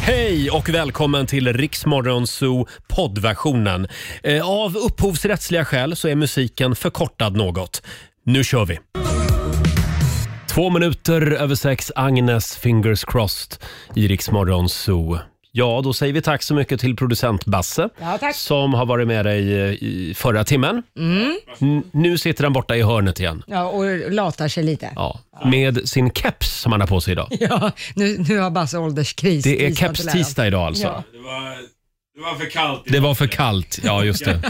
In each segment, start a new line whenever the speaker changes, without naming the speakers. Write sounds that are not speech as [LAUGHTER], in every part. Hej och välkommen till Riksmorgon Zoo poddversionen. Eh, Av upphovsrättsliga skäl så är musiken förkortad något. Nu kör vi! Två minuter över sex, Agnes Fingers Crossed i Riksmorgon Zoo. Ja, då säger vi tack så mycket till producent Basse
Ja, tack. Mm.
som har varit med dig eh, i förra timmen. N- nu sitter han borta i hörnet igen.
Ja, och latar sig lite.
Ja, med sin keps som han har på sig
[LAUGHS]
idag.
Ja, nu, nu har Basse ålderskris.
Det är
Kris har inte lärt
keps-tisdag idag alltså.
Ja.
Det var, det var för kallt. [LAUGHS]
Det var för kallt. Ja, just det.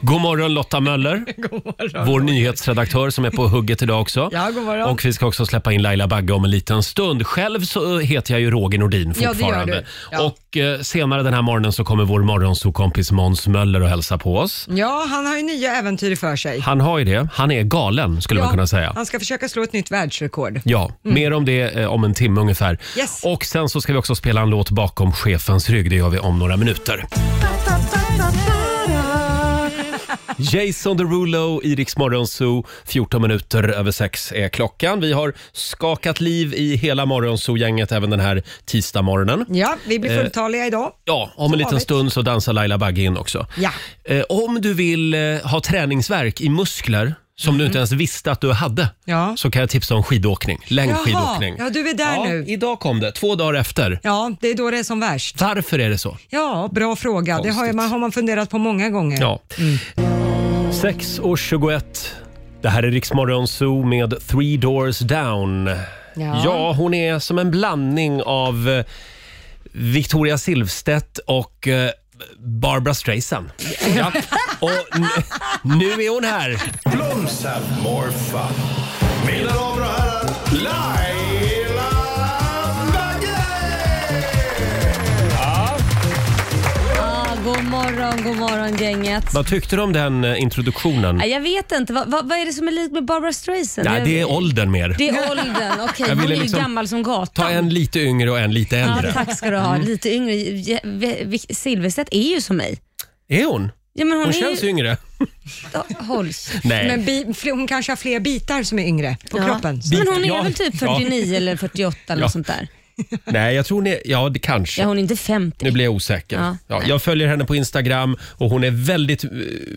God morgon Lotta
[LAUGHS]
Möller, vår nyhetsredaktör som är på hugget idag också.
Ja, god morgon.
Och vi ska också släppa in Laila Bagge om en liten stund. Själv så eh, heter jag ju Roger Nordin
Ja, det gör
fortfarande.
du. Ja.
Och eh, senare den här morgonen så kommer vår morgonsokompis Måns Möller och hälsa på oss.
Ja, han har ju nya äventyr för sig.
Han har ju det. Han är galen skulle
ja,
man kunna säga.
Han ska försöka slå ett nytt världsrekord.
Ja, mer om det eh, om en timme ungefär.
Mm. Yes.
Och sen så ska vi också spela en låt bakom chefens rygg. Det gör vi om några
[LAUGHS]
minuter. Jason Derulo i Rix Morgon Zoo. 14 minuter över sex är klockan. Vi har skakat liv i hela Morgonzoo-gänget även den här tisdagsmorgonen.
Ja, vi blir
Eh,
fulltaliga idag.
Ja, om en
Som
liten
vanligt.
stund så dansar Laila Bagge in också.
Ja.
Eh, om du vill eh, ha träningsverk i muskler som du inte ens visste att du hade
Mm. Ja.
så kan jag tipsa om skidåkning. Längdskidåkning.
Jaha, ja, du är där nu.
Idag kom det, två dagar efter.
Ja, det är då det är som värst.
Varför är det så?
Ja, bra fråga. Det har,
Konstigt.
ju- man, har man funderat på många gånger.
Ja. 6 och 21. Det här är Riksmorgon Zoo med Three Doors Down. Ja.
Ja.
hon är som en blandning av eh, Victoria Silvstedt och eh, Barbara Streisand. Ja. Och n- nu är hon här.
Blooms have more fun. Mina damer och herrar, Laila Bagge!
Ah, god morgon, god morgon gänget.
Vad tyckte du om den eh, introduktionen?
Ah, Jag vet inte, vad, vad, vad är det som är likt med Barbara Streisand?
Nej,
Jag-
det är åldern mer. [LAUGHS]
det är åldern, okej.
Jag
hon är
ville
ju
liksom
gammal som gatan.
Ta en Mm. lite yngre och en lite
ja,
äldre.
tack ska du ha. Lite yngre. Je- Ve- Vic- Silverstedt är ju som mig.
Är hon?
Ja, men hon,
Hon
är
känns
ju...
yngre.
Oh, hålls.
Nej.
Men bi, fl- hon kanske har fler bitar som är yngre på
Ja.
kroppen. Så.
Men hon är
Ja.
väl typ
Ja.
49 eller 48 eller
Ja.
något sånt där.
Nej, jag tror ni... Ja, det kanske.
Ja, hon är inte 50.
Nu blir jag osäker. Ja,
Ja, nej.
jag följer henne på Instagram och hon är väldigt eh,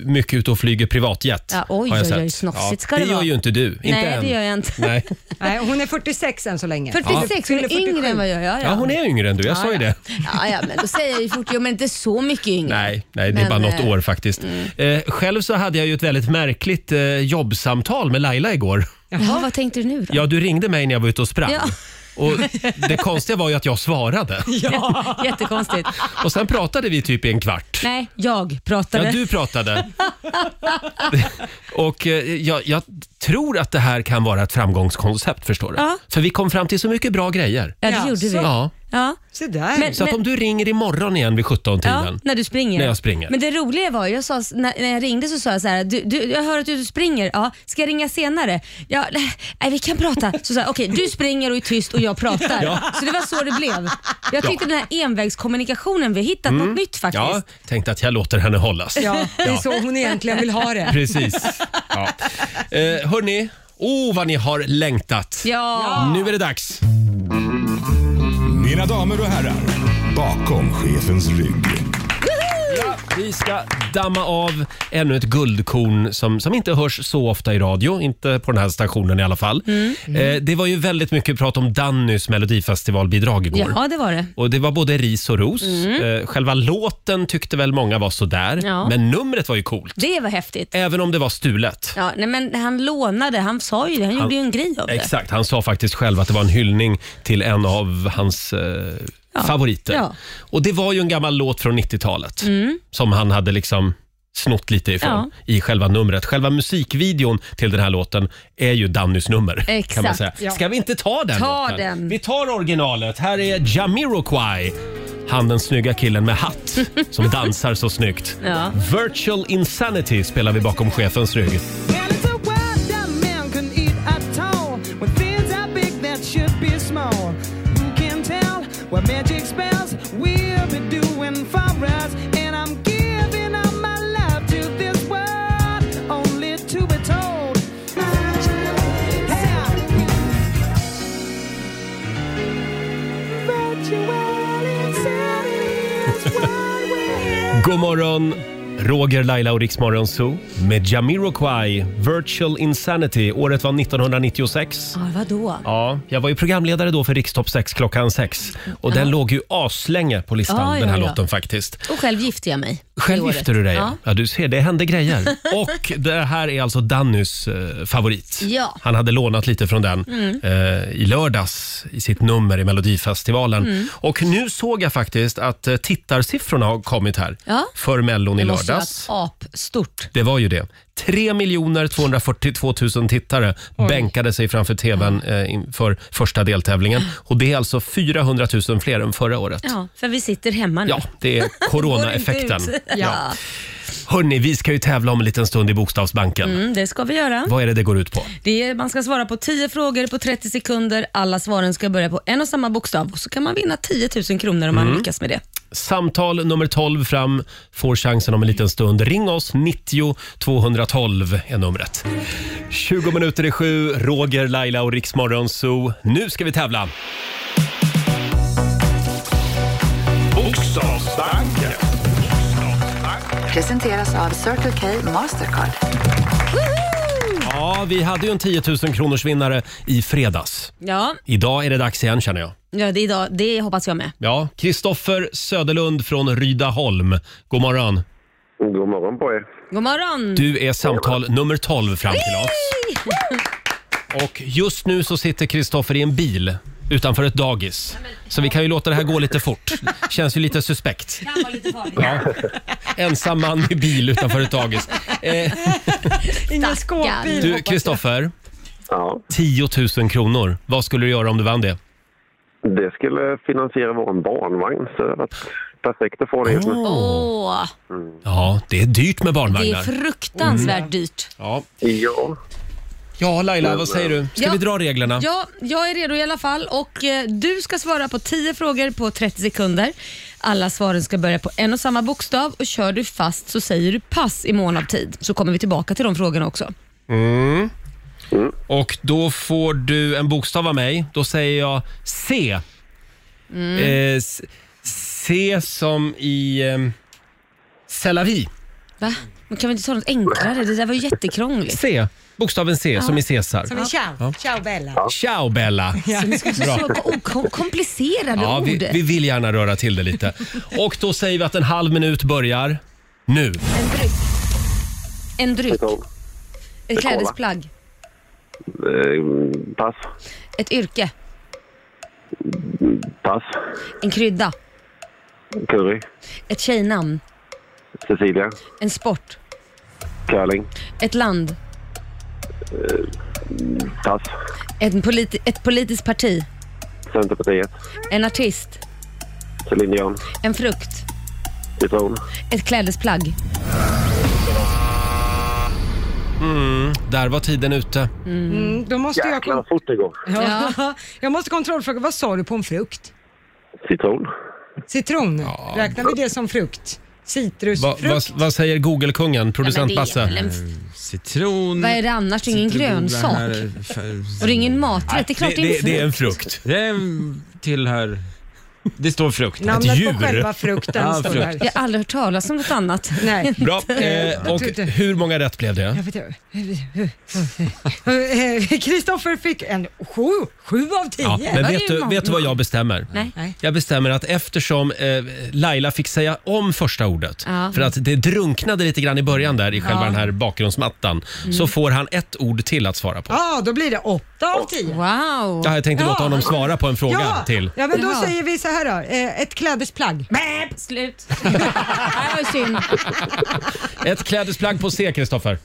mycket ute och flyger privatjet.
Ja, oj,
har jag
oj, oj,
sett.
snofsigt ska
det
det
gör
vara.
ju inte du. Inte
Nej,
än.
det gör jag inte.
Nej.
[LAUGHS]
Nej, hon är 46 än så länge.
46, hon
Fyller
är yngre än vad jag är.
Ja, hon är yngre än du. Jag sa ju det.
Ja, ja, men då säger jag ju 40, ja, men inte så mycket yngre.
Nej, nej, det är
Men,
bara något
eh,
år faktiskt. Eh, själv så hade jag ju ett väldigt märkligt eh, jobbsamtal med Laila igår.
Jaha, vad tänkte du nu då?
Ja, du ringde mig när jag var ute och sprang.
Ja.
Och det konstiga var ju att jag
[LAUGHS]
svarade.
Jättekonstigt.
Och sen pratade vi typ i en kvart.
Nej, jag pratade.
Ja, du
[LAUGHS]
pratade. och eh, jag, jag tror att det här kan vara ett framgångskoncept, förstår du.
Ja.
För vi kom fram till så mycket bra grejer.
Ja, det
Ja,
gjorde
så-
vi.
Ja.
Ja.
Se där.
Men-
Så att om du ringer imorgon igen vid 17-tiden.
Ja, när du springer.
När jag springer.
Men det roliga var, jag sa, när, när jag ringde så sa jag så här, du, du, jag hör att du springer, ja, ska jag ringa senare? Ja, nej, vi kan prata. Så sa jag, okej, du springer och är tyst och
[LAUGHS]
jag pratar. Så det var så det blev. Jag tyckte den här envägskommunikationen, vi har hittat något nytt faktiskt.
Mm. Ja, tänkte att jag låter henne hållas.
Ja, det är så hon egentligen vill ha det.
Precis. Ja. Eh, hörni, oh vad ni har längtat.
Ja.
Nu är det dags.
Mina damer och herrar, bakom chefens rygg.
Vi ska damma av ännu ett guldkorn som, som inte hörs så ofta i radio. Inte på den här stationen i alla fall. Eh, det var ju väldigt mycket prat om Dannys melodifestivalbidrag igår.
ja, det var det.
Och Det var både ris och ros. Eh, själva låten tyckte väl många var sådär,
Ja.
men numret var ju coolt.
Det var häftigt.
Även om det var stulet.
Ja, nej, men han lånade, han sa ju det, han, gjorde ju en grej av det.
Exakt, han sa faktiskt själv att det var en hyllning till en av hans eh, favoriter.
Ja. Mm.
Och det var ju en gammal låt från 90-talet som han hade liksom snott lite ifrån i själva numret. Själva musikvideon till den här låten är ju Dannys nummer. Kan man
Exakt,
säga.
ja.
Ska vi inte ta den
Ta
låten?
den.
Vi tar originalet. Här är Jamiroquai. Han den snygga killen med
[LAUGHS]
hatt som dansar så snyggt.
Ja.
Virtual Insanity spelar vi bakom chefens rygg.
And it's a world that man can eat at all. When things are big that should be small. Who can tell what magic spells we'll be doing for us? And I'm giving all my love to this world, only to be told. Hey. Virtual
God morgon, Roger, Laila och Riksmorgon Zoo med Jamiroquai, Virtual Insanity. Året var 1996.
Ja, vadå?
Ja, jag var ju programledare då för Rikstopp 6 klockan 6 och den låg ju aslänge på listan,
Ja, ja,
den här
ja.
låten faktiskt.
Och själv gifte jag mig. det
Själv
året.
gifte du dig, ja.
Ja.
ja. Du ser, det hände
[LAUGHS]
grejer. Och det här är alltså Dannys eh, favorit.
Ja. Mm.
Han hade lånat lite från den eh, i lördags i sitt nummer i Melodifestivalen.
Mm.
Och nu såg jag faktiskt att eh, tittarsiffrorna har kommit här
Ja.
för Mellon i
Det måste ju
lördags.
ha varit apstort.
Det var ju det. 3 242 000 tittare bänkade sig framför tvn eh, inför första deltävlingen. Och Det är alltså 400 000 fler än förra året.
Ja, för vi sitter hemma nu.
Ja,
[LAUGHS]
det är coronaeffekten.
Går inte ut.
Ja. Hörni, vi ska ju tävla om en liten stund i Bokstavsbanken.
Mm, det ska vi göra.
Vad är det det går ut på?
Det är, man ska svara på 10 frågor på 30 sekunder. Alla svaren ska börja på en och samma bokstav och så kan man vinna 10 000 kronor om
Mm.
man lyckas med det.
Samtal nummer 12 fram får chansen om en liten stund. Ring oss, 90 212 är numret. 20 minuter i sju, Roger, Laila och Riksmorgon Zoo. Nu ska vi tävla!
Bokstavsbanken.
Presenteras av Circle K Mastercard.
Ja, vi hade ju en 10 000 kronors vinnare i fredags.
Ja,
Idag är det dags igen känner jag.
ja det, är idag, det hoppas jag med.
Ja, Kristoffer Söderlund från Rydaholm. God morgon.
God morgon på er.
God morgon!
Du är samtal nummer 12 fram till oss. Och just nu så sitter Kristoffer i en bil utanför ett dagis. Så vi kan ju låta det här gå lite fort. Känns ju lite suspekt.
kan vara lite [LAUGHS] farligt.
Ja. Ensam man i bil utanför ett dagis. Eh,
Ingen
Stackarn.
skåpbil.
du Kristoffer,
Ja,
10 000 kronor. Vad skulle du göra om du vann det?
det skulle finansiera vår barnvagn så det hade varit perfekt att få det just nu.
Åh,
Ja, det är dyrt med
det är
barnvagnar.
fruktansvärt
Mm.
dyrt.
Ja,
Ja,
ja Laila, vad säger du? Ska
Ja.
vi dra reglerna?
Ja, jag är redo i alla fall och eh, du ska svara på 10 frågor på 30 sekunder. Alla svaren ska börja på en och samma bokstav och kör du fast så säger du pass i mån av tid. Så kommer vi tillbaka till de frågorna också.
Och då får du en bokstav av mig. Då säger jag C. Eh, s- C som i eh, Selavi.
Va? Men kan vi inte ta något enklare? Det där var ju jättekrångligt.
C. Bokstaven C som i Cesar.
Som en ciao. Ciao Bella.
Ciao Bella!
Så kom- komplicerade
Ja,
ord.
vi, vi vill gärna röra till det lite. Och då säger vi att en halv minut börjar nu.
En dryck. En dryck.
så,
Ett klädesplagg.
eh, pass,
Ett yrke.
pass,
En krydda.
curry,
Ett tjejnamn.
Cecilia,
En sport.
curling,
Ett land.
pass,
En politi- ett politiskt parti.
Centerpartiet,
En artist.
Céline Dion,
En frukt.
citron,
Ett klädesplagg.
Där var tiden ute.
Mm, då måste jag...
jäklar
Kon-
vad fort det går,
ja. [LAUGHS] Jag måste kontrollfråga, vad sa du på en frukt?
citron,
Citron? Räknar vi det som frukt?
Va,
Citrusfrukt?
va, vad säger Google-kungen, producent Basse?
Citron.
Mm. Vad är det annars? Det är ingen
Citron,
grönsak.
det här är för-
Och det är ingen maträtt. Det är klart det, är en frukt.
en frukt.
Det är- tillhör... Det står frukt.
ett
Namnet
djur.
på själva frukten
[LAUGHS]
Ja,
står
frukt.
där.
Jag har aldrig hört talas om något annat.
Nej.
Bra. Eh, och hur många rätt blev det?
Jag vet inte. [LAUGHS] Kristoffer fick en sju, sju av tio.
Ja, men
var
vet
ju
du,
många.
vet du vad jag bestämmer?
Nej.
Nej.
Jag bestämmer att eftersom eh, Laila fick säga om första ordet,
Ja.
för att det drunknade lite grann i början där i själva den här bakgrundsmattan, så får han ett ord till att svara på.
Ja, då blir det åtta av tio.
Wow.
Ja, jag tänkte låta
Ja.
honom svara på en fråga
Ja,
till.
ja men då
Ja.
säger vi så här då. Eh, Ett klädesplagg.
Bäp, slut. Nej, det var synd.
Ett klädesplagg på C, Kristoffer.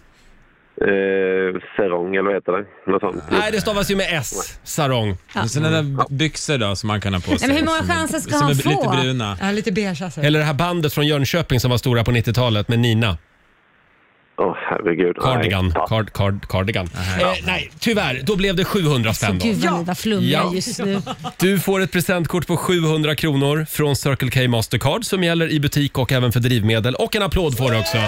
eh, serong eller vad heter det? Något sånt.
Nej, det stavas ju med S. Sarong.
Och Sådana där b- byxor då som man kan ha på sig.
men hur många
som är-
chanser ska
som
han
är
få?
lite bruna.
Ja, lite beige alltså.
Eller det här bandet från Jönköping som var stora på 90-talet med Nina.
Åh herregud. Nej,
Cardigan.
pass.
Card, card, cardigan. Eh, nej, tyvärr. Då blev det 700 spänn då.
Gud vad ni var flummiga
Ja.
just nu.
Du får ett presentkort på 700 kronor från Circle K Mastercard som gäller i butik och även för drivmedel. Och en applåd får du också.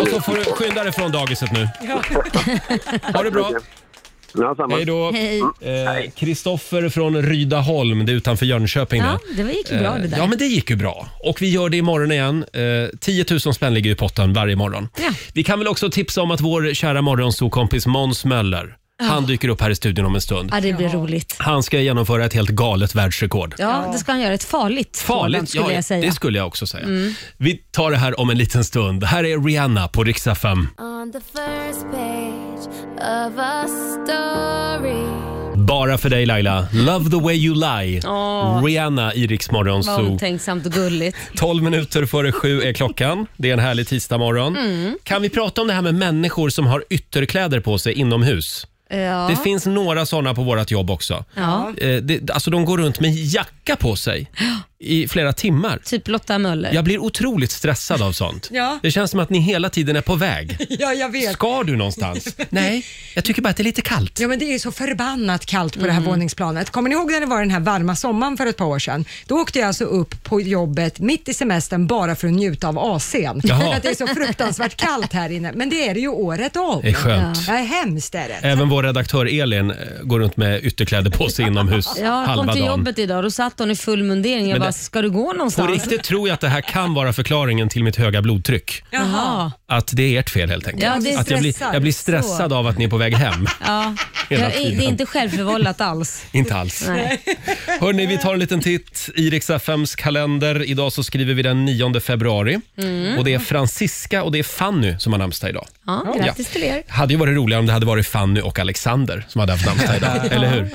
Och så får du skynda dig från dagiset nu. Ha det bra.
Ja, samma.
Hej då. Eh,
Hej.
Kristoffer från Rydaholm, det är utanför Jönköping.
Ja,
det.
det gick ju bra det
Eh,
där.
Ja, men det gick ju bra. Och vi gör det imorgon igen. Eh, 10 000 spänn ligger i potten varje morgon.
Ja.
Vi kan väl också tipsa om att vår kära morgonsokompis Måns Möller, han dyker upp här i studion om en stund.
Ja, det blir roligt.
Han ska genomföra ett helt galet världsrekord.
Ja, det ska han göra. Ett farligt sådant skulle
ja,
jag säga. Mm.
det skulle jag också säga. Vi tar det här om en liten stund. Här är Rihanna på riksdag 5.
On the first page of a story.
Bara för dig Laila. Love the way you lie.
Åh.
Rihanna i Rix Morgon
Vad
Zoo.
omtänksamt och gulligt.
12 minuter före sju är klockan. Det är en härlig tisdagmorgon.
Mm.
Kan vi prata om det här med människor som har ytterkläder på sig inomhus?
Ja.
Det finns några sådana på vårt jobb också.
ja.
Eh, det, alltså de går runt med jacka på sig i flera timmar.
Typ Lotta Möller.
Jag blir otroligt stressad av sånt.
Ja.
Det känns som att ni hela tiden är på
[LAUGHS]
väg.
Ja, jag vet.
Ska du någonstans? Nej, jag tycker bara att det är lite kallt.
Ja, men det är ju så förbannat kallt på det här
Mm.
våningsplanet. Kommer ni ihåg när det var den här varma sommaren för ett par år sedan? Då åkte jag alltså upp på jobbet mitt i semestern bara för att njuta av AC'n.
Jaha.
För att det är så fruktansvärt kallt här inne. Men det är det ju året om.
Det är skönt.
Ja, hemskt är det.
Även vår redaktör Elin eh, går runt med ytterkläder på sig inomhus
Ja, jag
halva
kom till
dagen.
jobbet idag då satt hon i full mundering. Jag
Men
bara,
det-
ska du gå
På
någonstans?
riktigt tror jag att det här kan vara förklaringen till mitt höga blodtryck.
Jaha.
Att det är ert fel helt enkelt.
Ja, det är
att jag, blir,
stressar.
jag blir stressad av att ni är på väg
[LAUGHS]
hem.
Ja.
Hela
Jag, det är
tiden.
inte självförvållat alls.
Inte alls. [LAUGHS]
Nej.
Hörni, vi tar en liten titt i Rix FMs kalender. Idag så skriver vi den 9 februari.
Mm.
Och Det är Francisca och det är Fanny som har namnsdag idag.
Ja, grattis till er.
hade ju varit roligare om det hade varit Fanny och Alexander som hade haft namnsdag
[LAUGHS]
idag. eller hur?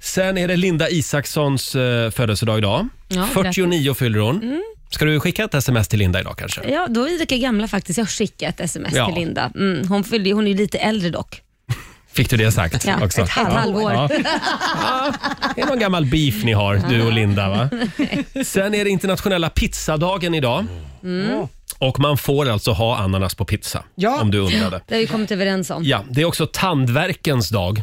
Sen är det Linda Isakssons eh, födelsedag idag.
Ja, Mm.
49 fyller hon. Ska du skicka ett sms till Linda idag kanske?
Ja, då är vi lika gamla faktiskt. Jag skickade ett sms
Ja.
till Linda. Mm, hon, fyllde, hon är ju lite äldre dock.
Fick du det sagt
Ja,
också?
ett halvt halvår.
Ja. Ja, Det är någon gammal beef ni har, du och Linda va?
[LAUGHS]
Sen är det internationella pizzadagen idag.
Mm.
Och man får alltså ha ananas på pizza,
Ja.
om du undrade.
Det har vi kommit överens om. Ja.
Ja, det är också tandverkens dag.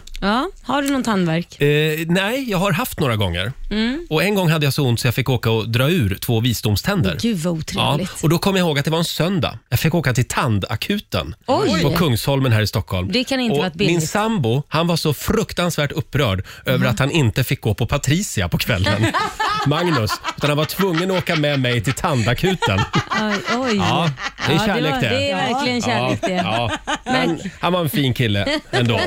Har du någon tandvärk?
Eh, nej, jag har haft några gånger.
Mm.
Och En gång hade jag så ont så jag fick åka och dra ur två visdomständer.
Gud vad
Ja,
otrevligt.
och då kom jag ihåg att det var en söndag. Jag fick åka till tandakuten
Oj.
på Kungsholmen här i Stockholm.
Det kan inte
och
varit billigt. Mm.
Min sambo han var så fruktansvärt upprörd över att han inte fick gå på Patricia på kvällen.
[LAUGHS]
Magnus. Utan han var tvungen att åka med mig till tandakuten.
Oj, oj.
Ja, det är
Ja,
kärlek
var,
det.
det är verkligen kärlek det.
Ja, men han var en fin kille ändå.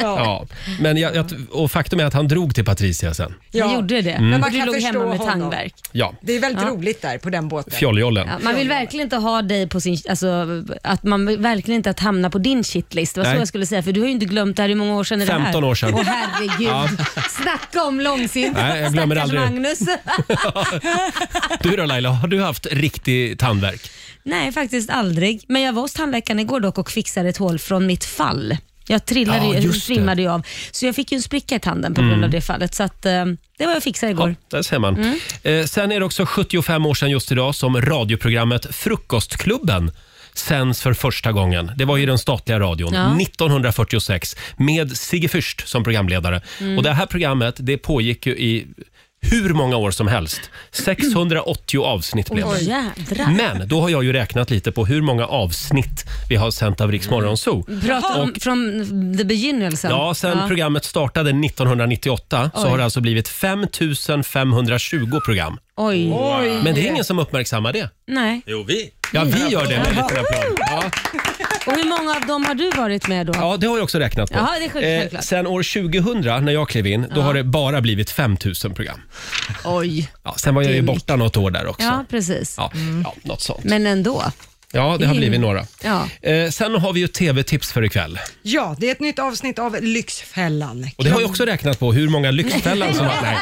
Ja. Men jag, jag, och faktum är att han drog till Patricia sen.
Jag gjorde det.
Mm.
Men man
Du
kan
låg
förstå
hemma med
honom.
tandvärk.
Ja,
Det är väldigt roligt där på den båten.
fjollejollen.
Ja, man vill verkligen inte ha dig på sin, alltså, att man vill verkligen inte att hamna på din shitlist. Det var
Nej.
så jag skulle säga, för du har ju inte glömt det här. Hur många år sedan är det här?
15 år sedan.
Åh herregud.
Ja.
Snacka om långsint.
Nej, jag glömmer
Stackars
aldrig.
Magnus.
[LAUGHS]
[LAUGHS]
Du då Laila, har du haft riktig tandvärk?
Nej, faktiskt aldrig. Men jag var hos tandläkaren igår dock och fixade ett hål från mitt fall. Jag trillade
Ja,
ju,
just det. Mm.
svimmade ju av. Så jag fick ju en spricka i tanden på grund av det fallet. Så att, eh, det var jag fixade igår.
Ja, där ser man.
Mm.
Eh, sen är det också 75 år sedan just idag som radioprogrammet Frukostklubben sänds för första gången. Det var ju den statliga radion
Ja.
1946 med Sigge Fürst som programledare.
Mm.
Och Det här programmet det pågick ju i hur många år som helst. 680 avsnitt blev
Åh
det.
jädrar.
Men då har jag ju räknat lite på hur många avsnitt vi har sänt av Rix Morgon Zoo.
Prata om från the begynnelsen.
Mm. Ja, sen programmet startade 1998 så
Oj.
har det alltså blivit 5520 program.
Oj.
Men det är ingen som uppmärksammar det.
Nej.
Jo, vi.
Ja, vi gör det med en liten applåd. Ja,
Och hur många av dem har du varit med då?
ja, det har jag också räknat på.
Jaha, det är sjukt,
Eh,
självklart.
sen år 2000, när jag klev in, då har det bara blivit 5000 program.
Oj.
Ja, sen var jag ju borta något år där också.
Ja,
Ja,
precis. Mm.
ja, något sånt.
Men ändå.
Ja, det har blivit några.
Ja.
Eh, sen har vi ju tv-tips för ikväll.
Ja, det är ett nytt avsnitt av Lyxfällan.
Och det har jag också räknat på, hur många Lyxfällan som har... Nej.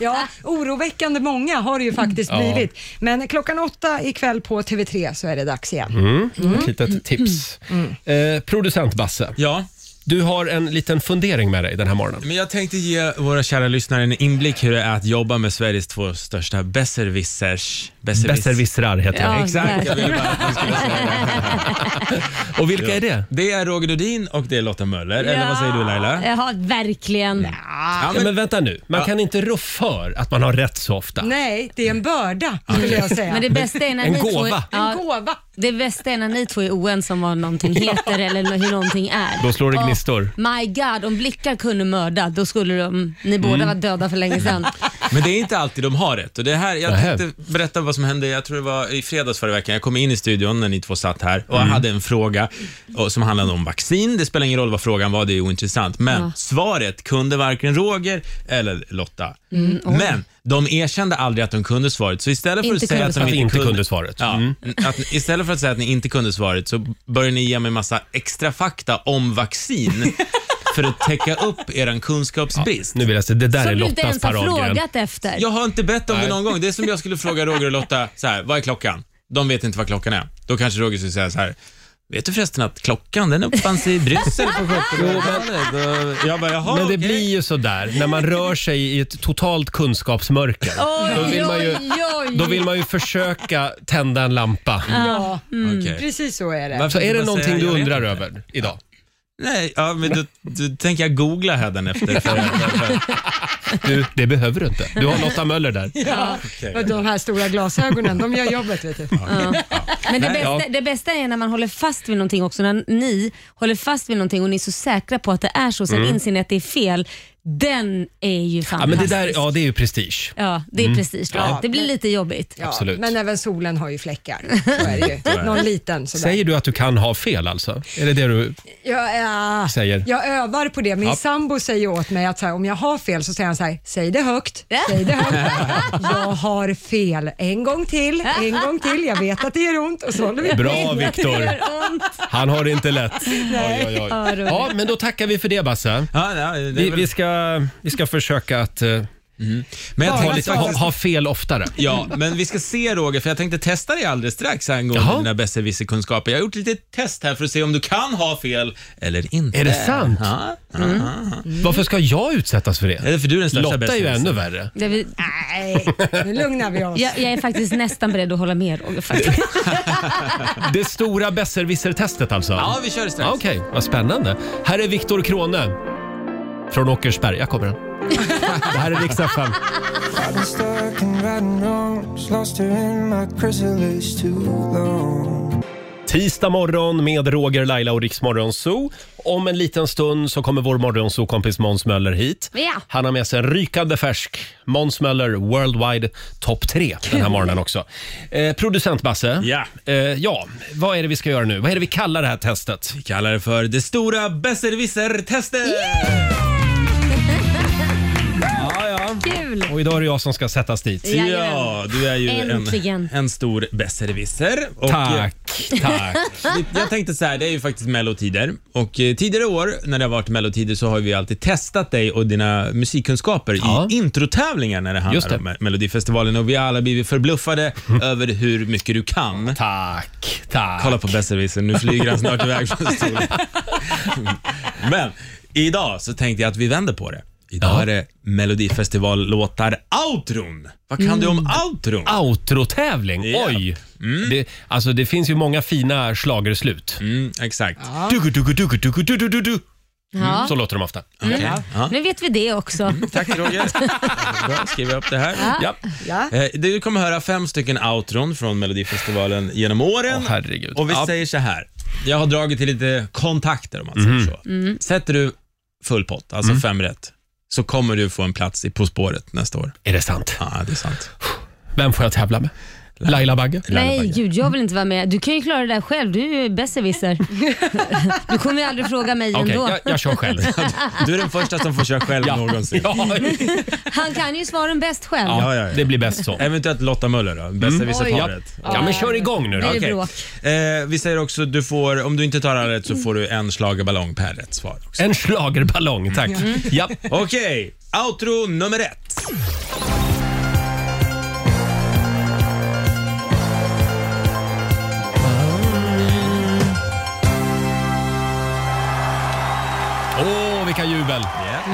Ja, oroväckande många har det ju faktiskt
Ja.
blivit. Men klockan åtta ikväll på TV3 så är det dags igen.
Mm.
Mm.
Ett litet tips. Eh, producent Basse,
Ja,
du har en liten fundering med dig den här morgonen.
men jag tänkte ge våra kära lyssnare en inblick hur det är att jobba med Sveriges två största besserwissers. Besserwiss-
Besserwissrar heter
Ja,
det.
Exakt, jag
[LAUGHS]
ville bara att du skulle säga det.
[LAUGHS] Och vilka är det?
Det är Roger Nordin och det är Lotta Möller. Eller vad säger du Laila?
Ja, verkligen.
Ja.
Ja, men vänta nu, man kan inte rå för att man har rätt så ofta.
Nej, det är en börda
Ah,
skulle jag säga.
Men det bästa är när
En
ni
gåva.
två... Ja,
En gåva.
Det bästa är när ni två är oense om vad någonting heter eller hur någonting är.
Då slår det
Åh,
gnistor.
my god, om blickar kunde mörda, då skulle de, ni
Mm.
båda vara döda för länge sedan.
Men det är inte alltid de har rätt. Och det här, jag
Nähä.
tänkte berätta vad som hände, jag tror det var i fredags förra veckan. Jag kom in i studion när ni två satt här och
Mm.
jag hade en fråga och, som handlade om vaccin. Det spelar ingen roll vad frågan var, det är ointressant. Men svaret kunde varken Roger eller Lotta.
Mm,
Men de erkände aldrig att de kunde svaret, så istället för
Inte
att säga
kunde
att de
svaret.
inte,
Att inte kunde svaret.
Ja,
Mm.
att, istället för att säga att ni inte kunde svaret så börjar ni ge mig massa extra fakta
[LAUGHS]
om vaccin för att täcka upp er kunskapsbrist.
Nu vill jag säga, det där är
Som du inte
Lottas
ens har
paradgren.
frågat efter.
Jag har inte bett om det någon gång. Det är som jag skulle fråga Roger och Lotta, så här, vad är klockan? De vet inte vad klockan är. Då kanske Roger skulle säga så här, vet du förresten att klockan den uppfanns i Bryssel på
[LAUGHS]
1700-talet? Jag bara, jaha,
Men det
okej.
blir ju sådär när man rör sig i ett totalt kunskapsmörker.
Oj,
Då vill man ju-
oj, oj.
Då vill man ju försöka tända en lampa.
Ja,
Mm.
Okej.
precis så är det.
Varför
Så är
inte
det
bara
någonting
säga,
du
jag vet
undrar
inte?
över idag?
Nej, ja, men då, då tänker jag
[LAUGHS]
googla hädanefter. För, för, för.
Du, det behöver du inte. Du har Lotta Möller där.
Och de här stora glasögonen, de gör jobbet vet du.
Men det
Nej,
bästa, det bästa är när man håller fast vid någonting också, när ni håller fast vid någonting och ni är så säkra på att det är så, sen inser ni att det är fel. Den är ju
Mm. Ja, men det
fantastisk.
där, ja, Mm. det är ju prestige.
Ja, det är precis då.
Ja,
det blir
men-
lite jobbigt.
Ja,
Absolut.
Men även solen har
[LAUGHS]
ju fläckar. Så är det ju. Någon liten sådär.
Säger du att du kan ha fel alltså? Är det det du...
Jag, ja,
Säger.
jag övar på det. Min
Ja.
sambo säger åt mig att så här, om jag har fel så säger han så här, säg det högt. Säg det högt.
[LAUGHS]
jag har fel. En gång till, en gång till. Jag vet att det gör ont och så håller vi på.
Bra Viktor! Han har det inte
[LAUGHS]
lätt. Oj, oj, oj.
Ja, Roger.
Ja, men då tackar vi för det Basse.
Ja, ja, det är
Vi,
väl-
vi, ska, vi ska försöka att eh,
men jag
ha,
tänkte-
lite, ha, ha fel oftare.
Ja, men vi ska se Roger, för jag tänkte testa dig alldeles strax angående
Jaha.
dina besserwisserkunskaper. Jag har gjort lite test här för att se om du kan ha fel eller inte.
Är det sant? Mm.
Ja. Mm.
Varför ska jag utsättas för det?
Är det för du är den största
Lotta är ju
besserwissern?
ännu värre.
Det vill-
Nej, nu lugnar vi oss.
jag, jag är faktiskt nästan beredd att hålla med Roger. Faktiskt.
Det stora besserwisser-testet alltså?
Ja, vi kör det strax.
Ja, Okej, vad spännande. Här är Viktor Krone från Åkersberga.
[LAUGHS]
kommer han. Det här är riksdag fem. Tisdag morgon med Roger, Laila och Riksmorgon Zoo. Om en liten stund så kommer vår morgonzoo-kompis Måns Möller hit.
Ja.
Han har med sig en rykande färsk Måns Möller Worldwide Top 3 den här morgonen också. Eh, producent Basse,
Ja.
eh, ja, vad är det vi ska göra nu? Vad är det vi kallar det här testet?
Vi kallar det för det stora besserwisser-testet! Ja, ja.
Kul!
Och idag är det jag som ska sättas dit.
Ja,
Jajamän.
du är ju en,
Äntligen.
en stor besserwisser. Och,
Tack, tack.
eh, Jag tänkte så här, det är ju faktiskt mellotider och eh, tidigare år när det har varit mellotider så har vi alltid testat dig och dina musikkunskaper
Ja.
i introtävlingar när det
Just
handlar
det.
om Melodifestivalen och vi har alla blivit förbluffade över hur mycket du kan.
Tack, tack.
Kolla på besserwissern, nu flyger han snart iväg från stolen. Men idag så tänkte jag att vi vänder på det. Idag
Ja.
är det Melodifestivallåtar outron. Vad kan du om outron?
Ah. Outrotävling,
Ja.
oj! Det, alltså det finns ju många fina schlagerslut.
Mm, exakt.
Dugu, dugu, dugu, dugu, dugu, dugu, dugu.
Ja.
Så låter de ofta.
Okej. Ja.
Nu vet vi det också.
Mm.
Tack Roger. Bra, skriver jag upp det här. Ja.
Ja.
Eh, Du kommer höra fem stycken outron från Melodifestivalen genom åren.
Åh, herregud.
Och vi
Ja.
säger så här. Jag har dragit till lite kontakter om man säger
Mm.
så.
Mm.
Sätter du full pott, alltså fem rätt, så kommer du få en plats i På spåret nästa år.
Är det sant?
Ja, det är
[LAUGHS]
sant.
Vem får jag tävla med? Laila Bagge?
Nej, gud jag vill inte vara med. Du kan ju klara det där själv. Du är ju besserwisser. Du kommer ju aldrig fråga mig
Okej,
ändå.
jag, jag kör själv.
Du är den första som får köra själv någonsin.
Ja,
Han kan ju svaren bäst själv.
ja,
Ja, ja, ja.
det blir bäst så.
Eventuellt Lotta Möller då,
Ja.
bästa visarparet.
ja, men kör igång nu då.
Det är
Okej.
bråk.
Eh, vi säger också att du får, om du inte tar alla rätt så får du en schlagerballong per rätt svar. Också.
En schlagerballong, tack. Ja.
Okej, outro nummer ett.
Åh, vilka jubel.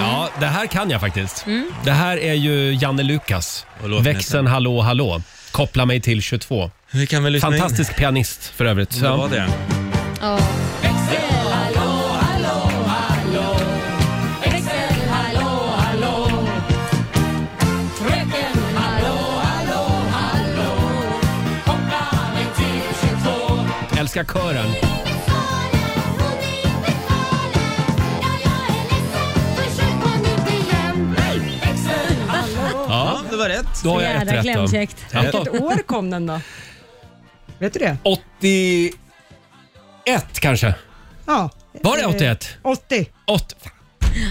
Ja, det här kan jag faktiskt. Det här är ju Janne Lukas.
Och låten
Växeln
heter-
Hallå hallå. Koppla mig till 22.
Vi kan väl lyssna in.
Fantastisk pianist för övrigt. Så-
Det var det.
Hallå, hallå,
Svenska kören. Ja,
det var rätt.
då har jag ett
Jädra
rätt då.
klämkäckt.
Ja.
Vilket år kom den då? Vet du det?
81 kanske.
Ja.
Var
Eh.
det 81?
80.
Åt-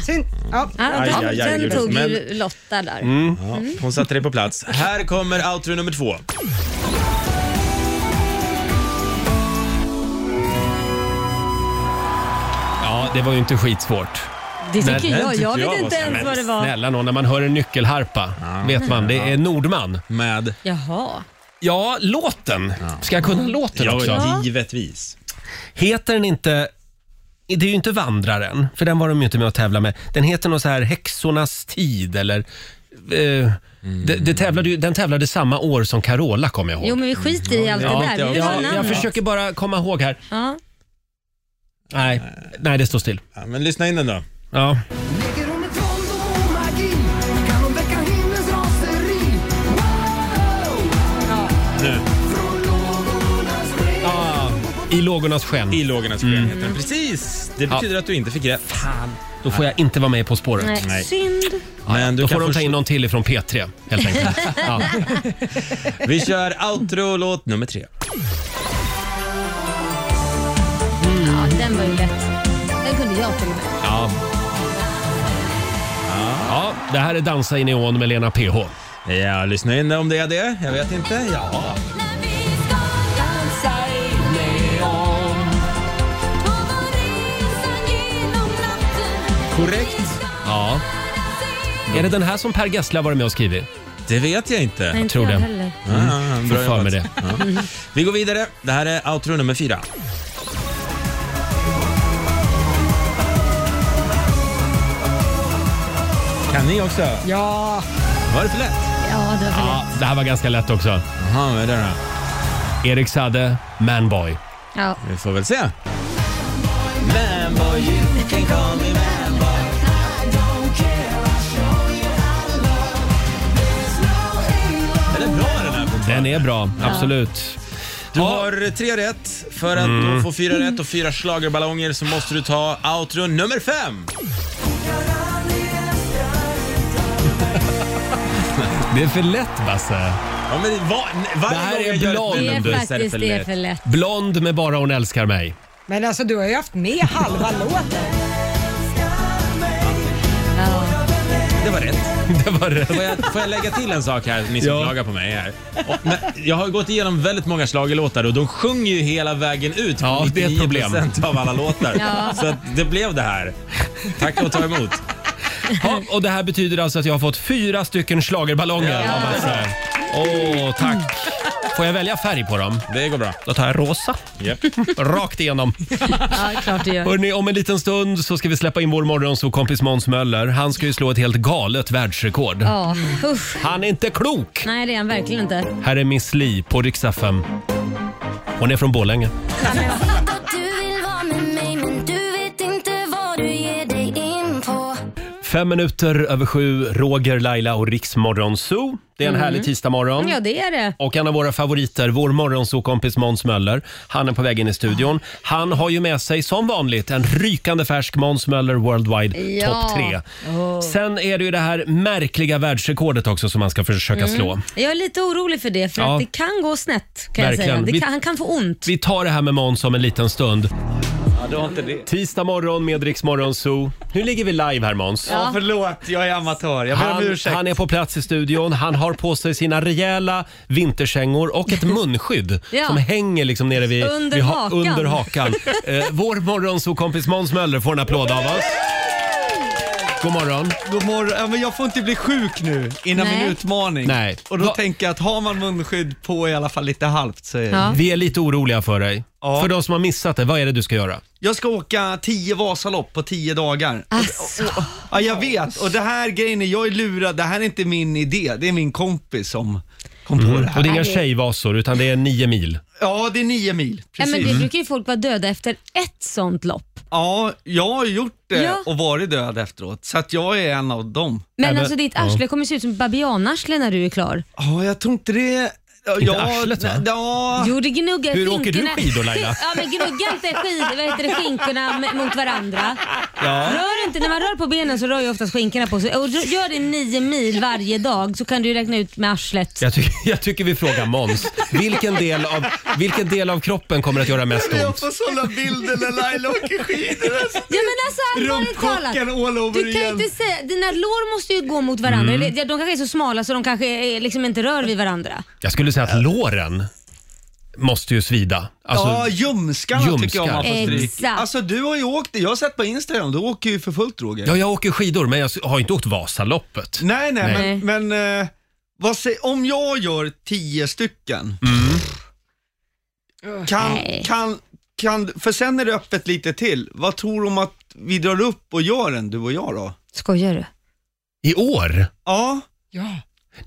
Synd. Ja.
Ja,
Aj,
den,
aj, aj,
den
just
tog
det.
ju Lotta där.
Ja, hon satte dig på plats. Här kommer outro nummer två.
Ja, det var ju inte skitsvårt.
Det
Men
tycker
den
jag.
tyckte
Jag
jag
vet
var
inte
så-
ens
men
vad det var.
Snälla någon, när man hör en nyckelharpa vet man, det är Nordman.
Med...
Jaha.
Ja, låten. Ska jag kunna låten också?
Ja, givetvis.
Heter den inte... Det är ju inte Vandraren, för den var de ju inte med och tävla med. Den heter något så här Häxornas tid eller... Eh,
Mm.
det, det tävlade ju, den tävlade samma år som Carola, kommer jag ihåg.
Jo men vi skiter i allt
Ja,
det där. Vi vill ha
ja,
namnet.
jag försöker bara komma ihåg här.
Ja.
Nej, nej det står still.
Ja, men lyssna in den då.
Ja.
Leker hon med våld och magi kan hon väcka himlens raseri. Wow!
Nu.
Från lågornas bredd.
I lågornas sken.
I lågornas skön
Mm.
heter den. Precis! Det betyder att du inte fick rätt.
Då får jag inte vara med På spåret.
Nej.
Nej.
Synd.
Men du
Då
kan
får de ta
först-
in någon till ifrån P3
[LAUGHS]
helt enkelt. ja.
Vi kör outro-låt nummer tre.
Ja, den var ju lätt. Den kunde jag till och med.
Ja. ja, det här är Dansa i neon med Lena PH.
Ja, lyssna in om det är det. Jag vet inte. Ja. Korrekt.
Ja. Är det den här som Per Gessle har varit med och skrivit?
Det vet jag inte.
Nej, inte
tror
jag
det.
heller.
Ja,
Mm. Får
bra
för
jobbat.
mig det.
Ja. Vi går vidare. Det här är outro nummer fyra. Kan ni också?
ja.
Var det för lätt?
Ja, det var för
Ja, det här var ganska lätt också.
Jaha, vad är det då?
Erik Sade, Manboy.
lätt. Ja.
Vi får väl se. Manboy, you can call me manboy. Den är bra den här fortfarande.
Den är bra, absolut.
Du har tre rätt. För att då få fyra rätt och fyra schlagerballonger så måste du ta outro nummer fem.
Det är för lätt Basse.
Ja, men va, nej, varje
Det
gång
här är
jag gör ett
blond.
Det
nummer
du
är
så
faktiskt det är för lätt.
Blond med Bara hon älskar mig. [LAUGHS]
Men alltså du har ju haft med halva låten.
Ja.
Det var rätt.
Det var rätt.
Får jag, får jag lägga till en sak här, ni som
Ja.
klagar på mig här. Och, men, jag har gått igenom väldigt många schlagerlåtar och de sjunger ju hela vägen ut på
Ja, det är ett problem.
99% av alla låtar.
Ja.
Så att det blev det här. Tack och ta emot.
Ja, och det här betyder alltså att jag har fått fyra stycken schlagerballonger av Basse. Åh, tack. Får jag välja färg på dem?
Det går bra.
Då tar jag rosa.
Japp.
Rakt igenom.
ja, klart det gör.
Hörrni, om en liten stund så ska vi släppa in vår morgonsåkompis Måns Möller. Han ska ju slå ett helt galet världsrekord.
Ja, usch.
Han är inte klok!
Nej, det är han verkligen inte.
Här är Miss Li på Rix FM. Hon är från Borlänge. Fem minuter över sju, Roger, Laila och Rix Morgon Zoo. Det är en härlig tisdagmorgon.
Ja, det är det.
Och en av våra favoriter, vår morgonsokompis Måns Möller, han är på väg in i studion. Han har ju med sig, som vanligt, en rykande färsk Måns Möller Worldwide
Ja.
topp 3. Sen är det ju det här märkliga världsrekordet också som man ska försöka slå.
Jag är lite orolig för det, för
Ja.
att det kan gå snett. Kan jag
Verkligen.
säga.
Vi-
Det kan, han kan få ont.
Vi tar det här med Måns om en liten stund.
Ja, du har inte det.
Tisdag morgon med Rix Morgon Zoo. Nu ligger vi live här Måns.
Ja, förlåt. Jag är amatör. Jag ber om
Han,
ursäkt.
han är på plats i studion. Han har på sig sina rejäla vinterkängor och
[LAUGHS]
ett munskydd
Ja.
som hänger liksom nere vid,
Under
vid
hakan.
under
[LAUGHS]
hakan. Eh, vår morgonsokompis Måns Möller får en applåd av oss. God morgon.
God morgon. Ja, men jag får inte bli sjuk nu innan
Nej.
min utmaning.
Nej.
Och då
Va-
tänker jag att har man munskydd på i alla fall lite halvt så är det.
Ja.
Vi är lite oroliga för dig.
Ja.
För de som har missat det, vad är det du ska göra?
Jag ska åka 10 Vasalopp på 10 dagar.
Alltså,
Ja, jag vet. Och det här grejen är, jag är lurad. Det här är inte min idé. Det är min kompis som kom på det
Mm.
Och
här.
det är inga tjejvasor utan det är nio mil.
Ja, det är 9 mil.
nej, men
Precis.
det brukar ju folk vara döda efter ett sånt lopp.
Ja, jag har gjort det
Ja.
och varit död efteråt. Så att jag är en av dem.
Men
men-
alltså ditt arsle kommer se ut som ett babianarsle när du är klar.
Ja, jag tror inte det
Inte arslet, va?
nej, ja.
Jo, det gnuggar
Hur åker du
skinkorna-
skidor, Laila?
[LAUGHS] ja, men gnugga inte skid, vad heter det, skinkorna m- mot varandra.
Ja.
Rör inte, när man rör på benen så rör ju oftast skinkorna på sig. Och rö- gör det nio mil varje dag så kan du ju räkna ut med arslet.
Jag, tycker- [LAUGHS] jag tycker vi frågar Måns. Vilken del, av, vilken del av kroppen kommer att göra mest ont?
får sådana bilder när Laila åker skidor.
[LAUGHS] Ja men alltså allvarligt talat.
Rumpkocken all over
Du kan
igen.
inte säga, dina lår måste ju gå mot varandra. Eller, ja, De kanske är så smala så de kanske är, liksom inte rör vid varandra.
Jag skulle säga att låren måste ju svida. Alltså,
ja, ljumskarna tycker jag man får
Ljumskar.
stryk.
Exakt.
Alltså du har ju åkt, jag har sett på Instagram, du åker ju för fullt Roger.
Ja, jag åker skidor men jag har inte åkt Vasaloppet.
Nej, nej,
Nej.
men, men eh, vad sä- om jag gör tio stycken, kan, kan, kan, för sen är det öppet lite till. Vad tror du om att vi drar upp och gör en, du och jag då?
Skojar du?
I år?
Ja.
Ja.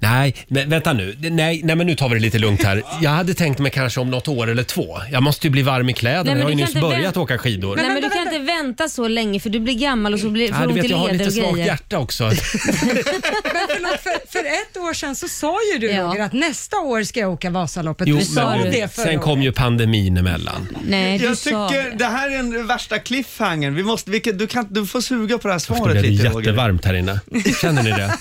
Nej, men vänta nu. Nej, nej, men nu tar vi det lite lugnt här. Jag hade tänkt mig kanske om något år eller två. Jag måste ju bli varm i kläderna.
Nej, men
jag har ju
du
nyss
kan inte
börjat
vänta-
åka skidor.
Nej men du kan inte vänta så länge för du blir gammal och så blir, får
Ja, du
du ont i
vet, jag har
leder
lite
och
svagt
grejer.
hjärta
[LAUGHS]
också.
Men förlåt, för, för ett år sedan så sa ju du Roger att nästa år ska jag åka Vasaloppet.
Jo,
du sa
men,
det förra
sen kom ju pandemin emellan.
Nej,
jag tycker det här är den värsta cliffhangern. Vi måste, vi, kan- du, kan, du får suga på det här
Det
svaret
blev
lite Roger.
jättevarmt här inne. Känner ni
[LAUGHS]
det?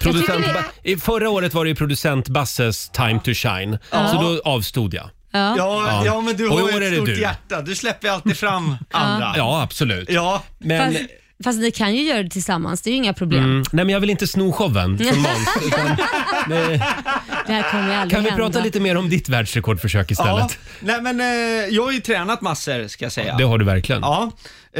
Producent ba- I förra året var det ju producent Basses time to shine,
Ja.
så då avstod jag.
Ja. Ja,
Ja.
men du
Och i
har
år
ju
är
ett
det
stort
du.
hjärta. Du släpper ju alltid fram andra.
Ja, absolut.
Ja.
Men,
Fast, fast ni kan ju göra det tillsammans, det är ju inga problem.
mm, nej, men jag vill inte sno showen
[LAUGHS]
från Måns.
Det här kommer ju aldrig
Kan vi
hända.
prata lite mer om ditt världsrekordförsök
Ja,
istället?
nej men eh, jag har ju tränat massor ska jag säga.
Det har du verkligen.
Ja,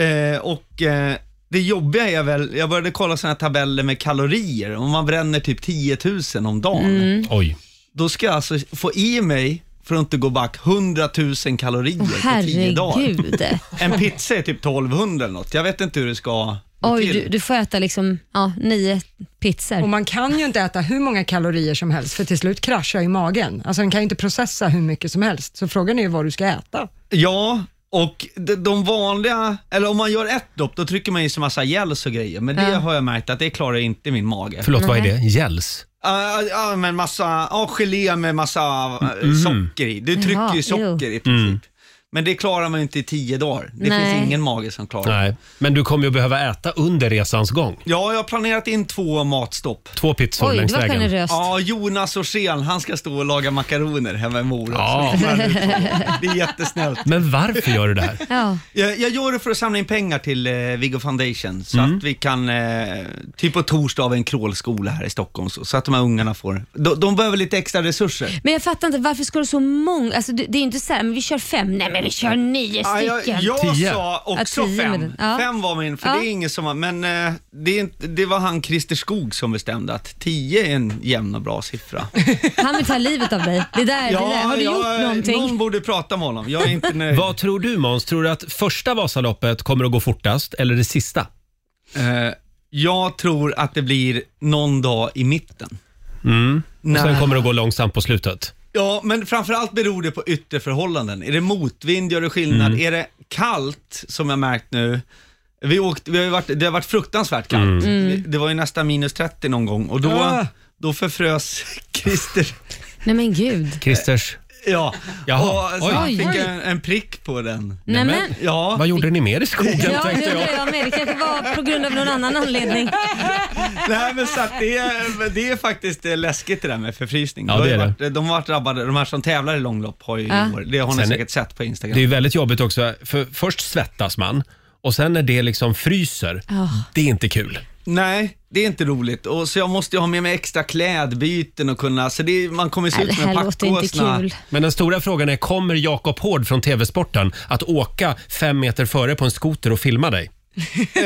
eh, och eh, det jobbiga är väl, jag började kolla såna här tabeller med kalorier, om man bränner typ 10 000 om dagen,
Mm.
Oj.
då ska jag alltså få i mig, för att inte gå back, 100 000 kalorier på 10 dagar.
Herregud.
En pizza är typ 1200 eller något, jag vet inte hur det ska gå
Oj,
till.
du, du får äta liksom ja, nio
Och
pizzor.
man kan ju inte äta hur många kalorier som helst för till slut kraschar ju magen. Alltså den kan ju inte processa hur mycket som helst. Så frågan är ju vad du ska äta.
Ja, och de, de vanliga, eller om man gör ett dopp, då trycker man i sig massa gels och grejer, men det
Ja.
har jag märkt att det klarar inte min mage.
Förlåt, vad är
Mm-hmm.
det? Gels?
Ja, ja, men massa, ja, gelé med massa eh,
Mm-hmm.
socker i. Du trycker
Jaha,
ju socker i
Mm.
princip. Men det klarar man ju inte i tio dagar. Det
Nej.
finns ingen mage som klarar det.
Nej. Men du kommer ju behöva äta under resans gång.
Ja, jag har planerat in två matstopp.
Två pizzor
Oj, det
längs
var
vägen.
generöst.
Ja, Jonas Åsén, han ska stå och laga makaroner hemma i Mora.
Ja.
Så det kommer han ut på. Det är jättesnällt.
Men varför gör du det här?
Ja.
Jag, jag gör det för att samla in pengar till eh, Viggo Foundation, så
Mm.
att vi kan, eh, typ på torsdag av en krålskola här i Stockholm, så, så att de här ungarna får, de, de behöver lite extra resurser.
Men jag fattar inte, varför ska du så många? Alltså, det, det är ju inte så här, men vi kör fem. Nej, men vi kör nio
Ja, jag,
stycken.
jag
Tio.
sa också
Ja, tio med
fem.
den. Ja.
Fem var min, för
Ja.
det är ingen som har, men eh, det, är inte, det var han Christer Skog som bestämde att tio är en jämn och bra
[LAUGHS]
siffra.
Han vill ta livet av dig. Det där, det där. Har du
jag-
gjort någonting?
Någon borde prata med honom, jag
[LAUGHS]
är inte nöjd.
Vad tror du Måns? Tror du att första Vasaloppet kommer att gå fortast eller det sista?
Eh, jag tror att det blir någon dag i mitten.
Mm. Och sen
Nej.
kommer det att gå långsamt på slutet.
Ja, men framförallt beror det på ytterförhållanden. Är det motvind, gör det skillnad?
Mm.
Är det kallt, som jag märkt nu? Vi åkt, vi har ju varit, det har varit fruktansvärt kallt.
Mm.
Det- Det var ju nästan minus 30 någon gång och då,
Mm. Ah.
då förfrös [LAUGHS] Christer.
Nej men gud.
Christers.
Ja,
Jaha,
och så
oj. Mm.
han fick
Oj.
en, en prick på den.
Nej,
men-
men.
Ja,
Vad gjorde ni mer i skogen
Ja, det
tänkte jag.
undrar jag med. Det kanske var på grund av någon annan anledning.
nej, men så att det, är- men det är faktiskt eh, läskigt det där med förfrysning.
Ja,
De har
det
ju
är
varit, de har varit drabbade, de här som tävlar i långlopp har ju
Ja.
i år, det har ni
Sen är-
säkert sett på Instagram.
Det är ju väldigt jobbigt också, för först svettas man och sen när det liksom fryser,
Ja.
det är inte kul.
Nej, det är inte roligt. Och så jag måste ju ha med mig extra klädbyten och kunna, så det, är- man kommer se
Nej,
ut
det
som en
här låter inte
packåsna.
kul.
Men den stora frågan är, kommer Jakob Hård från TV-sporten att åka fem meter före på en skoter och filma dig? Som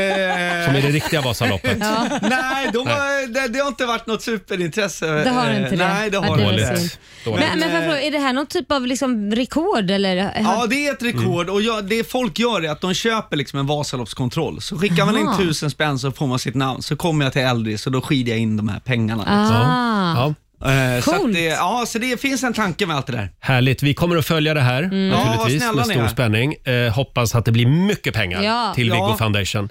är det riktiga
[LAUGHS]
Vasaloppet.
Eh, Nej, de har, det, det har inte varit något superintresse.
Det har
Eh,
inte det.
Nej, det har
Ja,
det
det
inte.
är
Dåligt.
synd.
Dåligt.
Men, men får jag fråga, är det här någon typ av liksom rekord eller?
Ja, det är ett rekord och jag, det folk gör är att de köper liksom en Vasaloppskontroll. Så skickar man in
Jaha.
tusen spänn så får man sitt namn. Så kommer jag till Eldris och då skider jag in de här pengarna.
Ah.
Ja.
Eh, så att
Coolt.
det, ja, så det finns en tanke med allt det där.
Härligt. Vi kommer att följa det här naturligtvis
Mm. Ja, vad snälla
med
ni
stor
är.
spänning. Eh, hoppas att det blir mycket pengar
Ja.
till
Ja.
Viggo Foundation.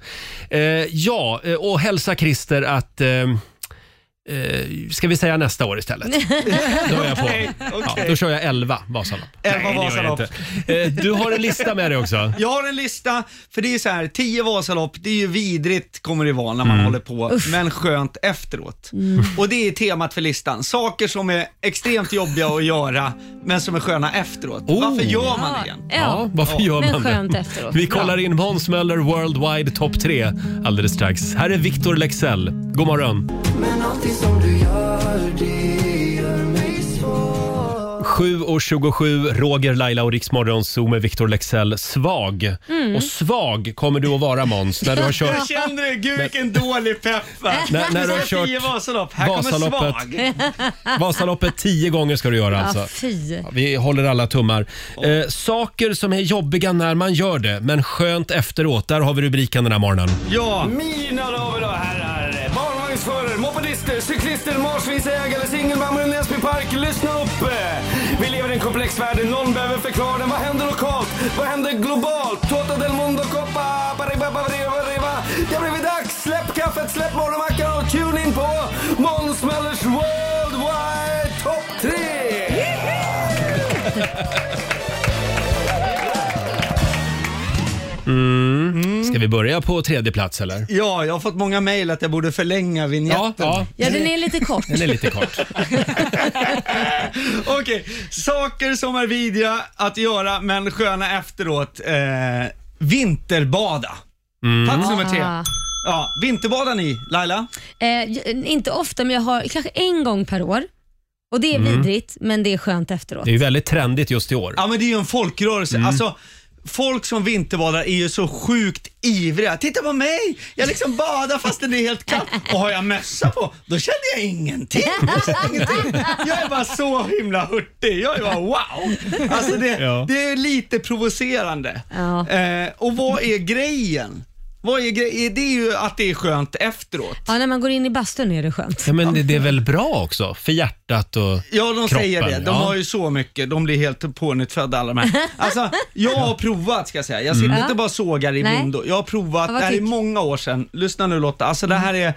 Eh, ja, eh, och hälsa Christer att eh, eh, ska vi säga nästa år istället?
[LAUGHS]
Då är jag på.
Okej,
Ja,
okej.
då kör jag 11 Vasalopp.
11
Nej, det gör jag
Vasalopp.
inte. Eh, Du har en lista med dig också.
Jag har en lista, för det är så här, 10 Vasalopp, det är ju vidrigt kommer det vara när man
Mm.
håller på,
Uff.
men skönt efteråt.
Mm.
Och det är temat för listan, saker som är extremt jobbiga att göra, men som är sköna efteråt.
Oh.
Varför gör man det?
Ja, ja,
varför gör
men
man det?
skönt efteråt.
Vi kollar in Måns Möller Worldwide Top 3 alldeles strax. Här är Victor Lexell. God morgon.
Men allting som du gör, det gör mig svår
7.27, Roger, Laila och Riksmorgon Zoom med Victor Lexell. Svag.
Mm.
Och svag kommer du att vara Måns när du har
[LAUGHS]
kört
Jag kände det, gud vilken dålig pepp va?
När- när du har
Jag säger
kört
Vasalopp, här kommer
Vasaloppet.
svag.
Vasaloppet tio gånger ska du göra alltså.
Ja, Ah, fy.
Vi håller alla tummar. Eh, saker som är jobbiga när man gör det, men skönt efteråt. Där har vi rubriken den här morgonen.
Ja.
Mina damer och herrar, barnvagnsförare, mopedister, cyklister, marsvinsägare, singelmammor i Näsby park. Lyssna upp! Vi lever i en komplex värld, någon behöver förklara den. Vad händer lokalt? Vad händer globalt? Tota del mondo coppa, paribabariba, Det blir dags! Släpp kaffet, släpp morgonmackan och tune in på Måns Möllers Worldwide Top 3!
Mm. Ska vi börja på tredje plats eller?
Ja, jag har fått många mejl att jag borde förlänga vignetten.
Ja,
Ja, den är lite kort.
Den är lite kort.
Okej, saker som är vidriga att göra men sköna efteråt. Eh, vinterbada. Plats nummer tre.
Ah.
Ja, vinterbadar ni, Laila?
Eh, j- inte ofta, men jag har kanske en gång per år. Och Det är
Mm.
vidrigt, men det är skönt efteråt.
Det är ju väldigt trendigt just i år.
Ja, men det är ju en folkrörelse. Alltså, folk som vinterbadar är ju så sjukt ivriga. Titta på mig! Jag liksom badar fast det är helt kallt. Och har jag mössa på, då känner jag ingenting. Jag, känner ingenting. jag är bara så himla hurtig. Jag är bara wow! Alltså det,
Ja.
det är lite provocerande.
Ja.
Eh, och vad är grejen? Vad är grejen? Det är ju att det är skönt efteråt.
Ja, när man går in i bastun är det skönt.
Ja, men det- det är väl bra också för hjärtat och
Ja, de
kroppen.
säger det. De
Ja.
har ju så mycket. De blir helt pånyttfödda alla de här. Alltså, jag har provat ska jag säga. Jag sitter
Mm.
inte bara och sågar i
Nej.
blindo. Jag har provat,
Ja,
det
vad
här är
tyck-
många år sedan. Lyssna nu Lotta, alltså det här är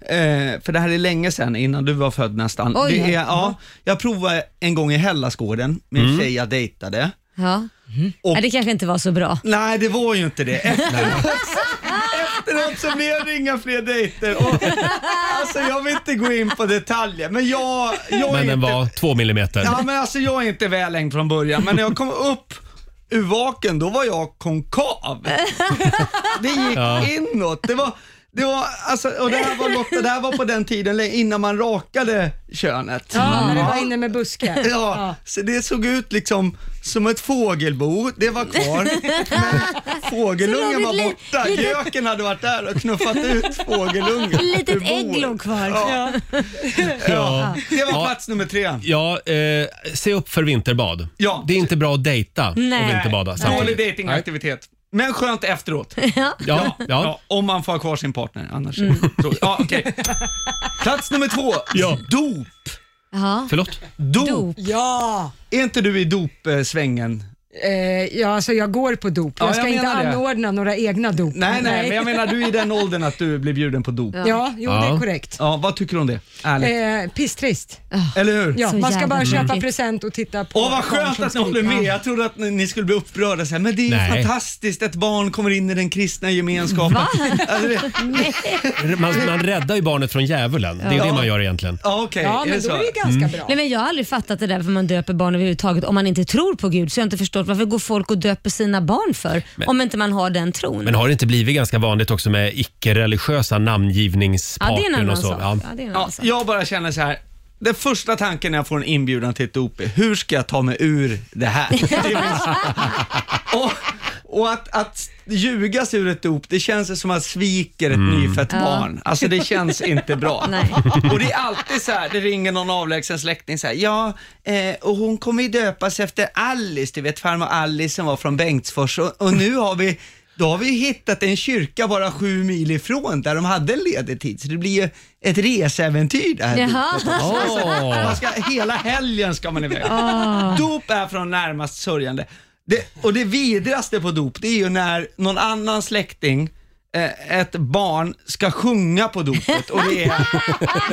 eh, för det här är länge sedan, innan du var född nästan.
Oj.
det är,
Ja.
ja, jag provade en gång i Hellasgården med en tjej jag dejtade.
Ja.
Och-
Ja, det kanske inte var så bra.
Nej, det var ju inte det. Efteråt, efteråt så blev det inga fler dejter. Och, alltså, jag vill inte gå in på detaljer, men jag, jag är
Men den
inte
var två millimeter.
Ja, men alltså jag är inte välängd från början, men när jag kom upp ur vaken, då var jag konkav. Det gick
Ja.
inåt. Det var, det var, alltså, och det här var Lotta, det här var på den tiden innan man rakade könet.
Ja, när du var inne med buske.
[LAUGHS] Ja, så det såg ut liksom som ett fågelbo, det var kvar. Men
Så
fågelungen
låg
var
ett li-
borta,
litet-
göken hade varit där och knuffat ut fågelungen.
Litet
ur boet.
ägg låg kvar.
Ja. Ja. Det var
Ja.
plats nummer tre.
Ja, eh, se upp för vinterbad.
Ja.
Det är inte bra att dejta
Nej.
och vinterbada
Nej.
samtidigt.
Dålig dejtingaktivitet. Men skönt efteråt.
Ja.
Ja, ja.
om man får ha kvar sin partner. Annars
Mm.
så, ja, okej. Plats nummer två. Dop.
Ja.
Förlåt?
Dop.
Ja.
Är inte du i dopsvängen?
Eh, ja, alltså jag går på dop.
Ja,
jag ska
jag
inte
menar det.
anordna några egna dop.
Nej, nej, men jag menar du är i den åldern att du blir bjuden på dop.
Ja. Ja, jo, det är Ja. korrekt.
Ja, vad tycker du om det? Ärligt.
Eh, pisstrist.
Eller hur?
Ja, man ska bara köpa present och titta på
Åh vad skönt att ni håller med. Jag trodde att ni, ni skulle bli upprörda så här, men det är ju
Nej.
fantastiskt att barn kommer in i den kristna gemenskapen.
Va?
Alltså, det,
Nej.
Man, man räddar ju barnet från djävulen. Det är
Ja.
det man gör egentligen.
Ja, okej.
Ja, men då är det ganska
Mm.
bra. Nej, men jag har aldrig fattat det där för man döper barn överhuvudtaget om man inte tror på Gud. Så jag har inte förstått varför går folk och döper sina barn för
Men-
om inte man har den tron.
Men har det inte blivit ganska vanligt också med icke-religiösa
ja, det är en
namngivningspartyn
annan
och så?
sak. Ja. det är en annan
Ja,
sak.
jag bara känner så här. Den första tanken när jag får en inbjudan till ett dop är, hur ska jag ta mig ur det
[LAUGHS]
här? Det är min- och och att, att ljuga sig ur ett dop, det känns som att svika ett nyfött
Ja.
barn. Alltså det känns inte bra.
[LAUGHS] Nej.
Och det är alltid så här, det ringer någon avlägsen släkting så här, ja, eh, och hon kommer ju döpas efter Alice, du vet farmor Alice som var från Bengtsfors och, och nu har vi då har vi ju hittat en kyrka bara sju mil ifrån där de hade en ledig tid, så det blir ju ett reseäventyr det här
Jaha.
dopet också. Alltså,
Åh.
man ska, hela helgen ska man iväg.
Ah.
Dop är från närmast sörjande. Det, och det vidraste på dop, det är ju när någon annan släkting eh, ett barn ska sjunga på dopet och det är...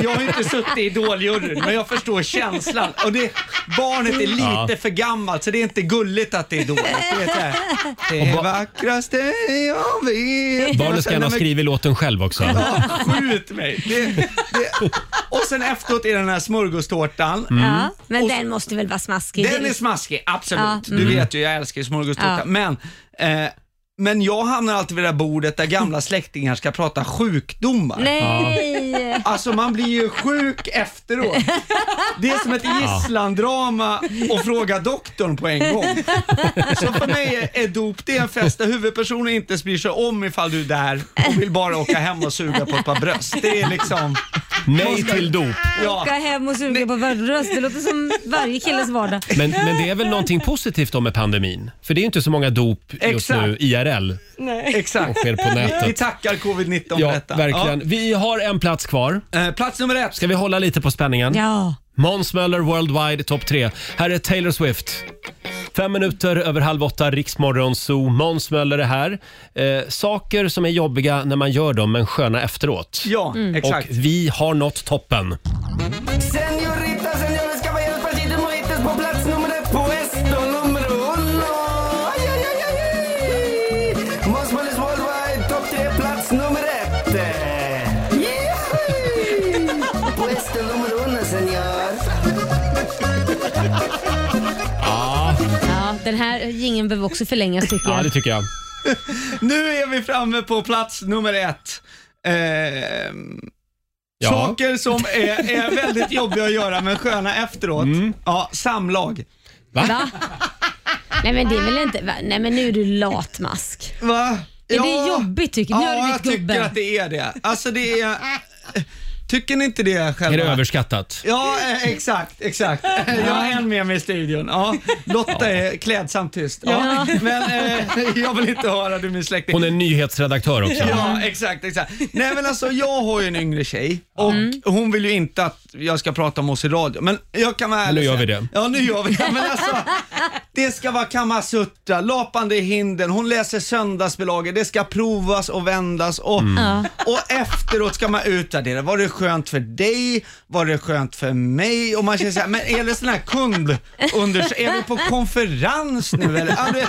Jag har ju inte suttit i Idoljuryn, men jag förstår känslan. Och det, barnet är lite
Ja.
för gammalt, så det är inte gulligt att det är Idol. Det är så här, Det
Och ba-
vackraste jag vet.
Barnet ska gärna ha
Alltså, Nej, men-
skrivit låten själv också.
Ja, skjut mig. Det, det. Och sen efteråt är det den här smörgåstårtan.
Ja, men den måste väl vara smaskig?
Den är smaskig, absolut.
Ja,
Du
mm.
vet ju, jag älskar ju smörgåstårta.
Ja.
Men, eh, men jag hamnar alltid vid det där bordet där gamla släktingar ska prata sjukdomar.
[LAUGHS] Nej!
Alltså man blir ju sjuk efteråt. Det är som ett gisslandrama och fråga doktorn på en gång. Så för mig är dop det är en fest där huvudpersonen inte bryr sig om ifall du är där och vill bara åka hem och suga på ett par bröst. Det är liksom...
Nej till dop.
Åka hem och suga på bröst, det låter som varje killes vardag.
Men, men det är väl någonting positivt om med pandemin? För det är ju inte så många dop just
Exakt.
nu, IRL.
Nej. Exakt.
Som sker på nätet.
[LAUGHS] Vi tackar covid-19 för
Ja,
detta.
verkligen.
Ja.
Vi har en plats kvar.
plats nummer ett.
Ska vi hålla lite på spänningen?
Ja.
Måns Möller Worldwide topp tre. Här är Taylor Swift. Fem minuter över halv åtta, Riksmorgon Zoo. Måns Möller är här. Eh, saker som är jobbiga när man gör dem, men sköna efteråt.
Ja, Mm. exakt.
Och vi har nått toppen.
Señorita, señores, caballeros, pasitos, mojitos på plats nummer ett, puesto numero uno. Aj, aj, aj, aj, aj. Måns Möllers Worldwide, topp tre, plats nummer ett. Yay! Puesto numero uno, señor.
Ja, den här gingen behöver också förlängas tycker jag.
tycker jag.
Nu är vi framme på plats nummer ett. Eh,
Ja.
Saker som är, är väldigt jobbiga att göra men sköna efteråt.
Mm.
Ja, samlag.
Va? Nej men det är väl inte... Va? Nej men nu är du lat mask.
Va?
Är det jobbigt tycker du? Nu
Ja,
har du
jag
blivit gubbe.
tycker att det är det. Alltså det är... Tycker ni inte det själva?
Är det överskattat?
Ja, eh, exakt,
[LAUGHS]
exakt. Jag har en med mig i studion. Ja, Lotta är klädsamt tyst. Ja.
Ja.
Men eh, jag vill inte höra du min släkting.
Hon är nyhetsredaktör också.
Ja, exakt, exakt. Nej men alltså jag har ju en yngre tjej och
Mm.
hon vill ju inte att jag ska prata om oss i radio. Men jag kan vara ärlig
nu
och
gör vi
säga-
det.
Ja nu gör vi det. Men alltså, det ska vara kamasutra, lapande i hinden, hon läser söndagsbilagor, det ska provas och vändas och,
Mm. Ja.
och efteråt ska man utvärdera. Var det skönt för dig? Var det skönt för mig? Och man känner såhär, men är det sån här kundundersökning? Är vi på konferens nu eller? Ja, det,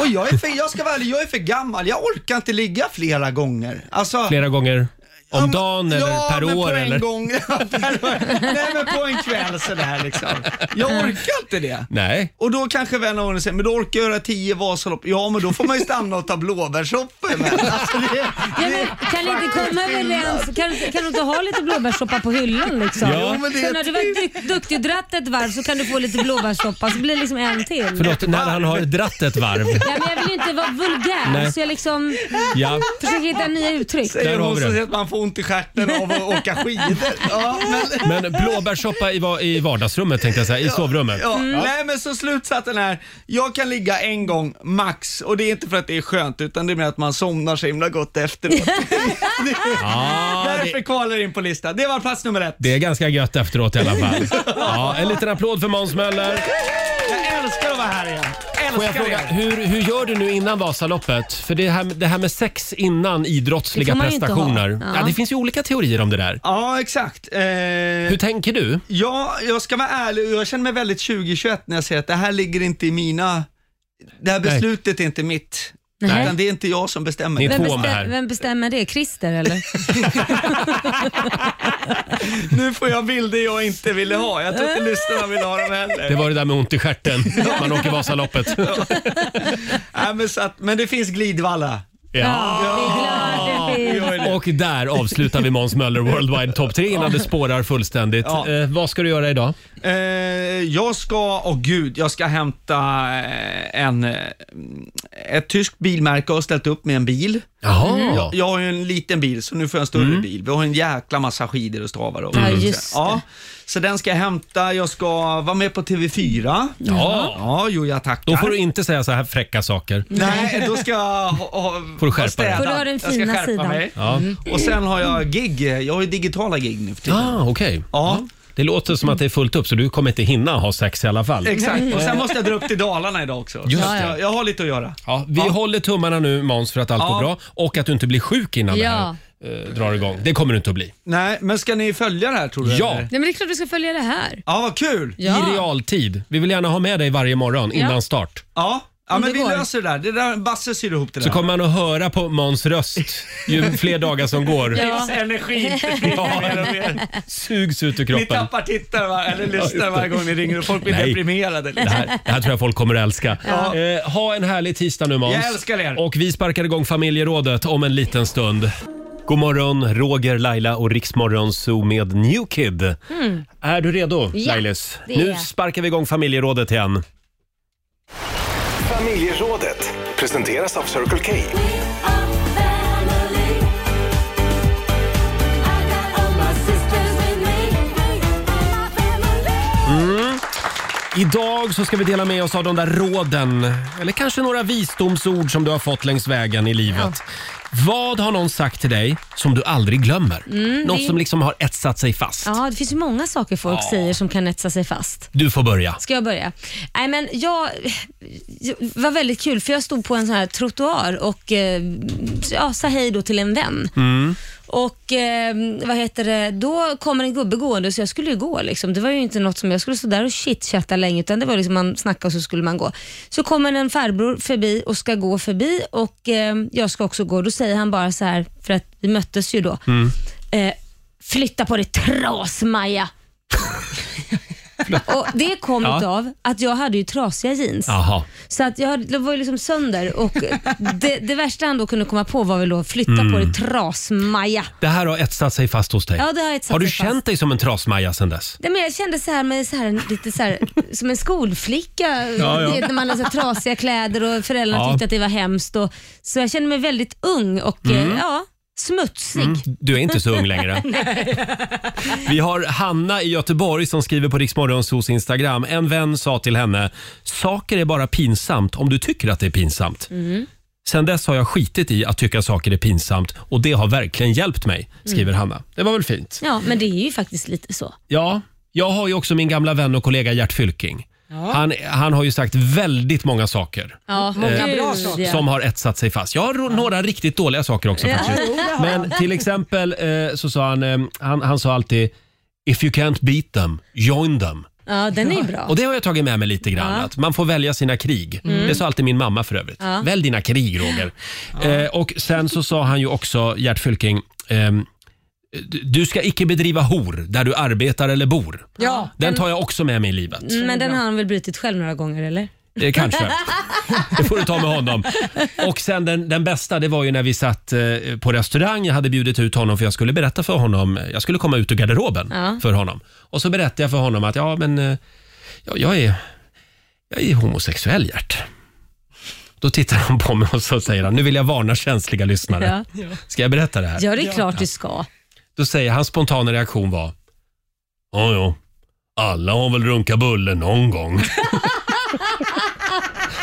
och jag är, för, jag ska vara ärlig, jag är för gammal. Jag orkar inte ligga flera gånger. Alltså,
Flera gånger om dagen eller
ja,
per
men
år?
på en
eller?
gång. [LAUGHS] per år. Nej, men på en kväll sådär liksom. Jag orkar inte det.
Nej.
Och då kanske vänner och vänner säger, men då orkar jag göra tio Vasalopp. Ja, men då får man ju stanna och ta blåbärssoppor
[LAUGHS]
med. Alltså, det,
Ja, men, kan ni inte komma överens? Kan, kan du inte ha lite blåbärssoppa på hyllan liksom?
Ja. Jo, men det
så
är
när du varit dyk, duktig och dratt ett varv så kan du få lite blåbärssoppa så blir det liksom en till.
Förlåt, när han har dratt ett varv.
Ja, men jag vill ju inte vara vulgär
Nej.
så jag liksom
Ja.
försöker hitta nya uttryck.
Där har vi det.
att man får ont i stjärten av att åka skidor. Ja, men...
[LAUGHS] Men blåbärssoppa i, va- i vardagsrummet tänkte jag säga, i sovrummet.
Ja, Nej men så slutsatsen är, jag kan ligga en gång max och det är inte för att det är skönt utan det är mer att man somnar så himla
[LAUGHS]
gott efteråt. Det-
Ah.
Därför kvalar det in på listan. Det var plats nummer ett.
Det är ganska gött efteråt i alla fall. Ja, en liten applåd för Måns Möller.
Jag älskar att vara här igen.
Får jag
Älskar
fråga,
er.
hur, hur gör du nu innan Vasaloppet? För det här, det här med sex innan idrottsliga
Det får man ju inte
prestationer.
ha.
Ja.
Ja.
det finns ju olika teorier om det där.
Ja, exakt. Eh, Hur
tänker du?
Ja, jag ska vara ärlig och jag känner mig väldigt 2021 när jag säger att det här ligger inte i mina... Det här
Nej.
beslutet är inte mitt.
Nej.
Utan det är inte jag som bestämmer.
Vem, bestäm, vem bestämmer det? Christer eller?
Nu får jag bilder jag inte ville ha. Jag
[LAUGHS]
tror inte lyssnarna vill ha dem heller.
Det var det där med ont i stjärten. Man åker Vasaloppet.
Nej, men, så att, men det finns glidvalla.
Ja. Och där avslutar vi Måns Möller Worldwide Top 3 innan det spårar fullständigt.
Ja.
Eh, vad ska du göra idag?
Eh, jag ska, åh gud, jag ska hämta eh, en, eh, ett tyskt bilmärke har ställt upp med en bil.
Jaha.
Jag, jag har ju en liten bil, så nu får jag en större bil. Vi har en jäkla massa skidor och stavar och
Mm. Ja, just
Mm. ja, Så den ska jag hämta, jag ska vara med på TV4.
Ja.
ja jo jag tackar.
Då får du inte säga så här fräcka saker.
Nej, då ska jag ha, ha,
Får du skärpa
ha städat.
dig. Får du
ha den
Jag ska
fina
skärpa
sidan.
Mig.
Ja.
Och sen har jag gig, jag har ju digitala gig nu för tiden.
Ah, okej.
Ja.
Det låter som att det är fullt upp så du kommer inte hinna ha sex i alla fall.
Exakt, och
Eh,
sen måste jag dra upp till Dalarna idag också.
Just
Så
det.
Jag, jag har lite att göra.
Ja, vi håller tummarna nu Måns för att allt
Ja.
går bra och att du inte blir sjuk innan
Ja.
det här eh, drar igång. Det kommer du inte att bli.
Nej, men ska ni följa det här tror du?
Ja.
eller?
Nej, men det är klart vi ska följa det här.
Ja, vad kul!
Ja.
I realtid. Vi vill gärna ha med dig varje morgon
Ja.
innan start.
Ja, ja
Om
men
det
vi
går.
löser det där. Det där Basse syr ihop det där.
Så kommer man att höra på Måns röst ju fler dagar som
[LAUGHS]
går.
Ja.
Energi
[LAUGHS] Ja.
mer och mer.
Sugs ut ur
Ni
kroppen.
tappar tittare va? eller
just det.
lyssnare varje gång ni ringer och folk blir
Nej.
deprimerade.
Det här, det här tror jag folk kommer att älska. Eh, ha en härlig tisdag nu Måns.
Jag älskar er.
Och vi sparkar igång familjerådet om en liten stund. God morgon, Roger, Laila och Riksmorgon Zoo med New Kid. Är du redo
Hmm. Ja,
Lailis?
det är
Nu
jag.
sparkar vi igång familjerådet igen.
Familjerådet presenteras av Circle K.
Idag så ska vi dela med oss av de där råden, eller kanske några visdomsord som du har fått längs vägen i livet. Vad har någon sagt till dig som du aldrig glömmer? Något
Mm, det-
som liksom har etsat sig fast.
Ja, det finns ju många saker folk säger som kan etsa sig fast.
Du får börja.
Ska jag börja? Nej, men jag jag- var väldigt kul för jag stod på en sån här trottoar och eh, ja, sa hej då till en vän. Och eh, vad heter det, då kommer en gubbe gående så jag skulle ju gå. Liksom. Det var ju inte något som jag skulle stå där och chitchatta länge utan det var liksom man snackade och så skulle man gå. Så kommer en farbror förbi och ska gå förbi och eh, jag ska också gå. Då säger han bara så här, för att vi möttes ju då. Eh, flytta på dig trasmaja. och det kom
Ja.
av att jag hade ju trasiga jeans.
Jaha.
Så att jag det var ju liksom sönder och det, det värsta han då kunde komma på var väl då flytta på dig trasmaja.
Det här har etsat sig fast hos dig.
Ja, det har etsat
har du
sig fast.
känt dig som en trasmaja sedan dess?
Nej, men jag kände så här, med så här, lite så här, som en skolflicka
Ja, ja.
Du vet, när man har så här, trasiga kläder och föräldrarna
Ja.
tyckte att det var hemskt. Och, så jag kände mig väldigt ung och
Mm.
eh, ja, smutsig.
Du är inte så ung längre. Vi har Hanna i Göteborg som skriver på Riksmorgonsos Instagram. En vän sa till henne, saker är bara pinsamt om du tycker att det är pinsamt. Sen dess har jag skitit i att tycka saker är pinsamt och det har verkligen hjälpt mig, skriver Hanna. Det var väl fint?
Ja, men det är ju faktiskt lite så.
Ja, jag har ju också min gamla vän och kollega Gert Fylking. Han, han har ju sagt väldigt många saker
Ja,
Många
gud,
bra saker.
ja.
som har etsat sig fast. Jag har ro- några riktigt dåliga saker också faktiskt. Men till exempel eh, så sa han, eh, han, han sa alltid If you can't beat them, join them.
Ja, den är ju bra.
Och det har jag tagit med mig lite grann. Att man får välja sina krig. Det sa alltid min mamma för övrigt. Välj dina krig Roger. Eh, och sen så sa han ju också, Gert Fylking, ehm, "Du- du ska icke bedriva hor där du arbetar eller bor.
Ja.
Den tar jag också med mig i livet.
Mm, Men den har han väl brutit själv några gånger eller?
Eh, kanske. Det får du ta med honom. Och sen den, den bästa, det var ju när vi satt eh, på restaurang. Jag hade bjudit ut honom för jag skulle berätta för honom. Jag skulle komma ut ur garderoben
Ja.
för honom. Och så berättade jag för honom att ja, men eh, ja, jag är, jag är homosexuell, Gert. Då tittar han på mig och så säger han, nu vill jag varna känsliga lyssnare. Ska jag berätta det här?
Ja, det är klart du ska.
Då säger hans spontana reaktion var, ja, ja, alla har väl runkat bulle någon gång. [LAUGHS]